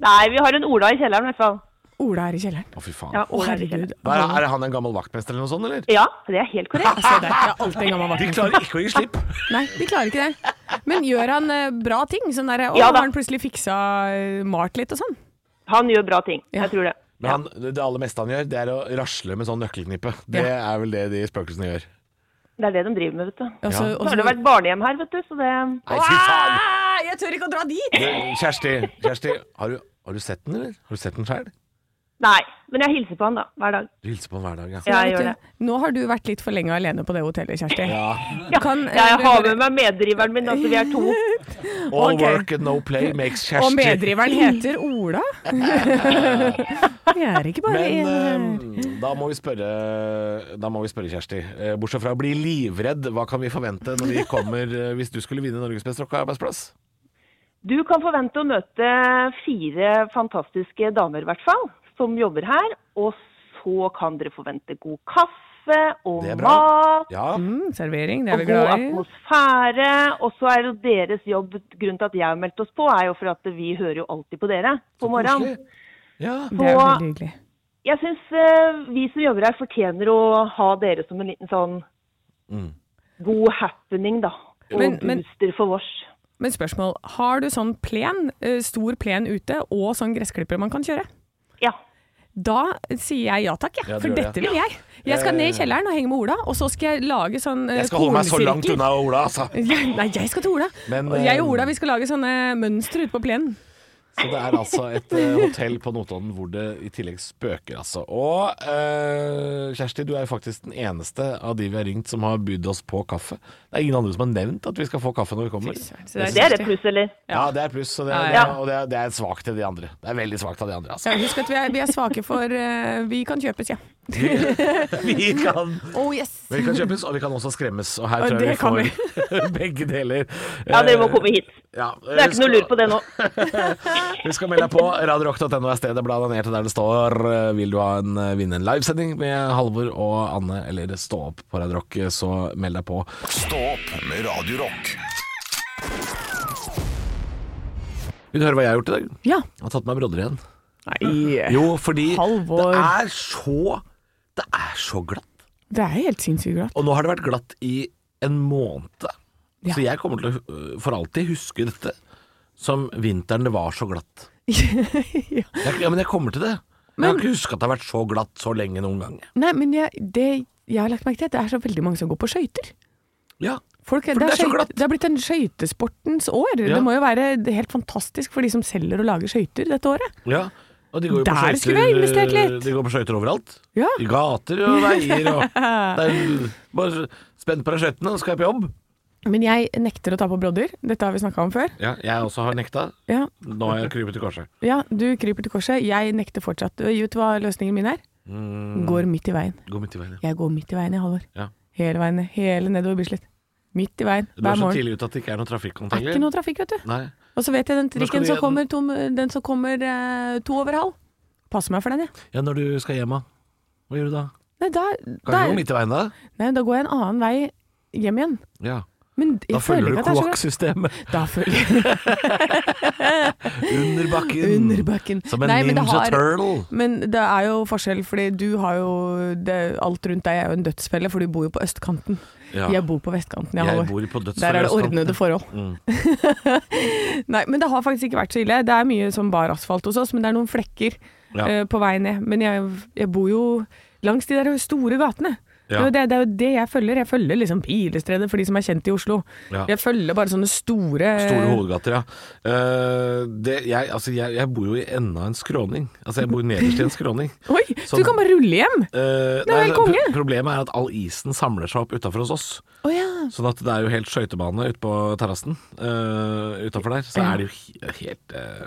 Speaker 7: nei, vi har en Ola i kjelleren i hvert fall.
Speaker 3: Ola er i kjelleren.
Speaker 2: Å, fy faen.
Speaker 7: Ja,
Speaker 3: Å,
Speaker 7: Ola er i
Speaker 3: herregud.
Speaker 7: kjelleren.
Speaker 2: Hva Er, er han en gammel vaktmester eller noe sånt, eller?
Speaker 7: Ja, det er helt korrekt.
Speaker 3: Se der, det er alltid en gammel
Speaker 2: De
Speaker 3: vakt.
Speaker 2: klarer ikke å gi slipp.
Speaker 3: Nei, de klarer ikke det. Men gjør han eh, bra ting? Sånn derre Å,
Speaker 7: Ja da.
Speaker 3: har han plutselig fiksa eh, malt litt og sånn?
Speaker 7: Han gjør bra ting,
Speaker 3: Ja.
Speaker 7: jeg tror det.
Speaker 2: Men han, det aller meste han gjør, det er å rasle med sånn nøkkelknippe. Det er vel det de spøkelsene gjør.
Speaker 7: Det er det de driver med, vet du.
Speaker 3: Og så-
Speaker 2: Ja.
Speaker 3: og
Speaker 7: Nå har det
Speaker 3: så-
Speaker 7: vært barnehjem her, vet du, så det
Speaker 2: Nei, fy faen!
Speaker 3: Ah, Jeg tør ikke å dra dit!
Speaker 2: Kjersti, Kjersti har, du, har du sett den, eller? Har du sett den sjøl?
Speaker 7: Nei, men jeg hilser på han da, hver dag.
Speaker 2: Du hilser på den hver dag, ja.
Speaker 7: Ja,
Speaker 3: Vet du,
Speaker 7: jeg gjør det.
Speaker 3: Nå har du vært litt for lenge alene på det hotellet, Kjersti.
Speaker 2: Ja.
Speaker 3: Du Kan, eh,
Speaker 7: Jeg
Speaker 3: du
Speaker 7: har
Speaker 3: bare-
Speaker 7: med meg meddriveren min, altså vi er to.
Speaker 2: All
Speaker 3: Ok.
Speaker 2: work and no play makes
Speaker 3: Og
Speaker 2: Kjersti.
Speaker 3: meddriveren heter Ola. Vi er ikke bare
Speaker 2: Men
Speaker 3: en
Speaker 2: eh, da, må vi spørre, da må vi spørre Kjersti. Eh, Bortsett fra å bli livredd, hva kan vi forvente når vi kommer eh, hvis du skulle vinne Norges beste rocka arbeidsplass?
Speaker 7: Du kan forvente å møte fire fantastiske damer i hvert fall, som jobber her. Og så kan dere forvente god kaffe og
Speaker 2: Det er bra.
Speaker 7: mat.
Speaker 2: Ja.
Speaker 3: Mm, servering, det er
Speaker 7: Og
Speaker 3: vi
Speaker 7: god
Speaker 3: glad i.
Speaker 7: atmosfære. Og så er jo deres jobb Grunnen til at jeg har meldt oss på, er jo for at vi hører jo alltid på dere på morgenen.
Speaker 2: Koselig. Ja.
Speaker 3: Det er veldig hyggelig.
Speaker 7: Jeg syns vi som jobber her, fortjener å ha dere som en liten sånn
Speaker 2: Mm.
Speaker 7: god happening, da. Og
Speaker 3: Men- men-
Speaker 7: booster for vårs.
Speaker 3: Men spørsmål, har du sånn plen, eh, stor plen ute, og sånn gressklipper man kan kjøre?
Speaker 7: Ja.
Speaker 3: Da sier jeg ja takk, jeg.
Speaker 2: Ja, du
Speaker 3: for
Speaker 2: gjør det.
Speaker 3: dette vil jeg. Jeg skal ned i kjelleren og henge med Ola, og så skal jeg lage sånn eh,
Speaker 2: Jeg skal holde meg så langt
Speaker 3: kornsirkel.
Speaker 2: unna Ola, altså.
Speaker 3: Ja, Nei, jeg skal til Ola.
Speaker 2: Men,
Speaker 3: og jeg
Speaker 2: eh,
Speaker 3: og Ola vi skal lage sånne mønstre ute på plenen.
Speaker 2: Så det er altså et eh, hotell på Notodden hvor det i tillegg spøker, altså. Og eh, Kjersti, du er jo faktisk den eneste av de vi har ringt som har bydd oss på kaffe. Det er ingen andre som har nevnt at vi skal få kaffe når vi kommer.
Speaker 3: Så
Speaker 7: Det er et pluss, eller?
Speaker 2: Ja, det er pluss, og det er,
Speaker 3: Ja,
Speaker 2: og det er, det er svakt til de andre. Det er veldig svakt av de andre, altså.
Speaker 3: Ja, husk at vi er, vi er svake for eh, Vi kan kjøpes, ja.
Speaker 2: Vi kan,
Speaker 3: Oh yes!
Speaker 2: vi kan kjøpes, og vi kan også skremmes. Og her
Speaker 3: Og
Speaker 2: tror jeg
Speaker 3: det kan
Speaker 2: vi får begge deler. eh,
Speaker 7: Ja, dere må komme hit. Det er ikke noe lur på det nå.
Speaker 2: Husk å melde deg på. Radiorock.no er stedet. Bla deg ned til der det står. eh, Vil du ha en, eh, vinne en livesending med Halvor og Anne, eller stå opp på Radio Rock, så meld deg på.
Speaker 1: Stå opp med Radio Rock.
Speaker 2: Vil du høre hva jeg har gjort i dag?
Speaker 3: Ja.
Speaker 2: Jeg har tatt meg brodder igjen.
Speaker 3: Nei
Speaker 2: Jo, fordi
Speaker 3: Halvor.
Speaker 2: det er så Det er så glatt.
Speaker 3: Det er helt sinnssykt glatt.
Speaker 2: Og nå har det vært glatt i en måned.
Speaker 3: Ja.
Speaker 2: Så jeg kommer til å øh, for alltid huske dette som vinteren det var så glatt.
Speaker 3: ja.
Speaker 2: Jeg, ja, men jeg kommer til det. Men, jeg har ikke huska at det har vært så glatt så lenge noen gang.
Speaker 3: Nei, men jeg, det jeg har lagt merke til, er at det er så veldig mange som går på skøyter.
Speaker 2: Ja.
Speaker 3: Folk, det,
Speaker 2: For
Speaker 3: er
Speaker 2: det er så
Speaker 3: skøy-
Speaker 2: glatt.
Speaker 3: det har blitt en skøytesportens år.
Speaker 2: Ja.
Speaker 3: Det må jo være helt fantastisk for de som selger og lager skøyter dette året.
Speaker 2: ja. Og de går jo på
Speaker 3: Der skulle jeg investert
Speaker 2: skøyter
Speaker 3: litt.
Speaker 2: øh, De går på skøyter overalt.
Speaker 3: Ja.
Speaker 2: I gater og veier og det er, Bare spent på deg skøytene, og skal jeg på jobb.
Speaker 3: Men jeg nekter å ta på brodder. Dette har vi snakka om før.
Speaker 2: Ja, jeg også har nekta.
Speaker 3: Ja,
Speaker 2: Nå har jeg krypet i korset.
Speaker 3: ja, du kryper til korset. Jeg nekter fortsatt. Vet du hva løsningen min er? Går midt i veien.
Speaker 2: Mm, Gå midt i veien. ja.
Speaker 3: Jeg går midt i veien, jeg, Halvor.
Speaker 2: Ja.
Speaker 3: Hele veien, ned, hele nedover Bislett. Midt i veien,
Speaker 2: Du er
Speaker 3: hver
Speaker 2: så
Speaker 3: morgen.
Speaker 2: tidlig ute at det ikke er noe trafikkontroll.
Speaker 3: Det er ikke noe trafikk, vet du.
Speaker 2: Nei.
Speaker 3: Og så vet jeg den
Speaker 2: skal
Speaker 3: trikken
Speaker 2: du
Speaker 3: som
Speaker 2: igjen?
Speaker 3: kommer, tom, den som kommer eh, to over halv. Passer meg for den, jeg.
Speaker 2: Ja, når du skal hjem, da? Hva gjør du da?
Speaker 3: Nei da,
Speaker 2: Kan
Speaker 3: da,
Speaker 2: du gå midt i veien da?
Speaker 3: nei, da går jeg en annen vei hjem igjen.
Speaker 2: Ja.
Speaker 3: Men jeg
Speaker 2: Da følger du
Speaker 3: ikke at det er så glatt.
Speaker 2: kloakksystemet
Speaker 3: Da følger jeg
Speaker 2: under bakken.
Speaker 3: under bakken.
Speaker 2: Som en
Speaker 3: Nei, men det
Speaker 2: ninja
Speaker 3: har-
Speaker 2: turtle.
Speaker 3: Men det er jo forskjell, fordi du har jo det, Alt rundt deg er jo en dødsfelle, for du bor jo på østkanten.
Speaker 2: Ja.
Speaker 3: Jeg bor på vestkanten. Jeg,
Speaker 2: Jeg
Speaker 3: Halvor.
Speaker 2: bor på dødsfelle
Speaker 3: Der er det
Speaker 2: østkanten.
Speaker 3: ordnede forhold.
Speaker 2: Mm.
Speaker 3: Nei, men det har faktisk ikke vært så ille. Det er mye som bar asfalt hos oss, men det er noen flekker
Speaker 2: Ja.
Speaker 3: eh, på vei ned. Men jeg, jeg bor jo langs de der store gatene. Det, er
Speaker 2: Ja.
Speaker 3: jo det, det er jo det jeg følger. Jeg følger liksom Pilestredet for de som er kjent i Oslo.
Speaker 2: Ja.
Speaker 3: Jeg følger bare sånne store
Speaker 2: Store hovedgater, ja. Eh, det, jeg, altså, jeg, jeg bor jo i enda en skråning. Altså, jeg bor nederst i en skråning.
Speaker 3: Oi, så
Speaker 2: Sånn-
Speaker 3: du kan bare rulle hjem!
Speaker 2: Eh,
Speaker 3: er helt
Speaker 2: pro-
Speaker 3: konge.
Speaker 2: Problemet er at all isen samler seg opp utafor hos oss.
Speaker 3: Å ja.
Speaker 2: Sånn at det er jo helt skøytebane ute på terrassen. Uh, utafor der. Så
Speaker 3: Ja.
Speaker 2: er det jo he- helt eh,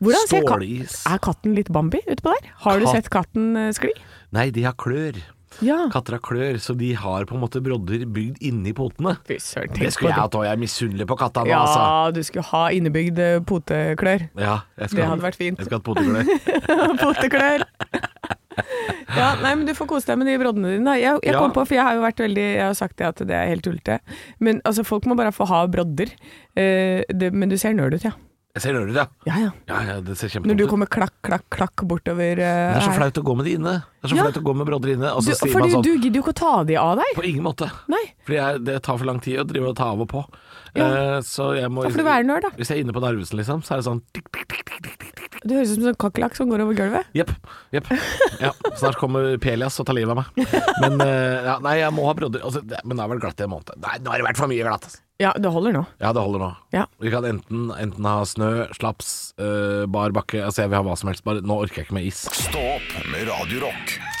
Speaker 3: Hvordan ser kat-
Speaker 2: Stålis.
Speaker 3: Er katten litt Bambi utpå der? Har du
Speaker 2: Katt-
Speaker 3: sett katten eh, skli?
Speaker 2: Nei, de har klør.
Speaker 3: Ja.
Speaker 2: Katter har klør, så de har på en måte brodder bygd inni potene.
Speaker 3: Fy søren,
Speaker 2: Det
Speaker 3: tenk på
Speaker 2: skulle jeg
Speaker 3: det.
Speaker 2: hatt òg. Jeg er misunnelig på katta nå,
Speaker 3: Ja,
Speaker 2: altså.
Speaker 3: du skulle ha innebygd eh, poteklør.
Speaker 2: Ja, jeg skal
Speaker 3: Det
Speaker 2: ha-
Speaker 3: hadde vært fint.
Speaker 2: Jeg skal ha et poteklør.
Speaker 3: Poteklør! Ja, nei, men Du får kose deg med de broddene dine. da. Jeg, jeg
Speaker 2: Ja.
Speaker 3: kom på, for jeg har jo vært veldig Jeg har sagt det at det er helt tullete. Men altså, folk må bare få ha brodder. Eh, det, men du ser nerd ut, ja.
Speaker 2: Jeg ser rødere, ja.
Speaker 3: Ja, ja.
Speaker 2: Ja, ja, det ser
Speaker 3: Når du
Speaker 2: kjempegodt ut.
Speaker 3: kommer klakk, klakk, klakk
Speaker 2: Det
Speaker 3: bortover eh,
Speaker 2: er så
Speaker 3: her.
Speaker 2: flaut å gå med de inne. Det er så
Speaker 3: Ja.
Speaker 2: flaut å gå med brodder inne. Og
Speaker 3: Du,
Speaker 2: så sier
Speaker 3: fordi
Speaker 2: man sånn
Speaker 3: du gidder jo ikke å ta de av deg.
Speaker 2: På ingen måte.
Speaker 3: Nei.
Speaker 2: Fordi jeg, det tar for lang tid å drive og ta av og på.
Speaker 3: Ja.
Speaker 2: Eh, så jeg må
Speaker 3: Da får du være nerd, da.
Speaker 2: Hvis jeg er inne på Narvesen, liksom, så er det sånn tikk, tikk, tikk, tikk, tikk, tikk, tikk.
Speaker 3: Du høres ut som en sånn kakerlakk som går over gulvet.
Speaker 2: Jepp. Jepp. Ja, snart kommer Pelias og tar livet av meg. Men eh, ja, nei, jeg må ha brodder. Altså, det, men det har vært glatt i en måned. Nei, nå har det vært for mye glatt. altså.
Speaker 3: Ja, det holder nå.
Speaker 2: Ja, det holder nå.
Speaker 3: Ja.
Speaker 2: Vi kan enten, enten ha snø, slaps, eh, bar bakke Altså, jeg vil ha hva som helst. Bare, nå orker jeg ikke med is.
Speaker 1: Stå opp med Radio Rock.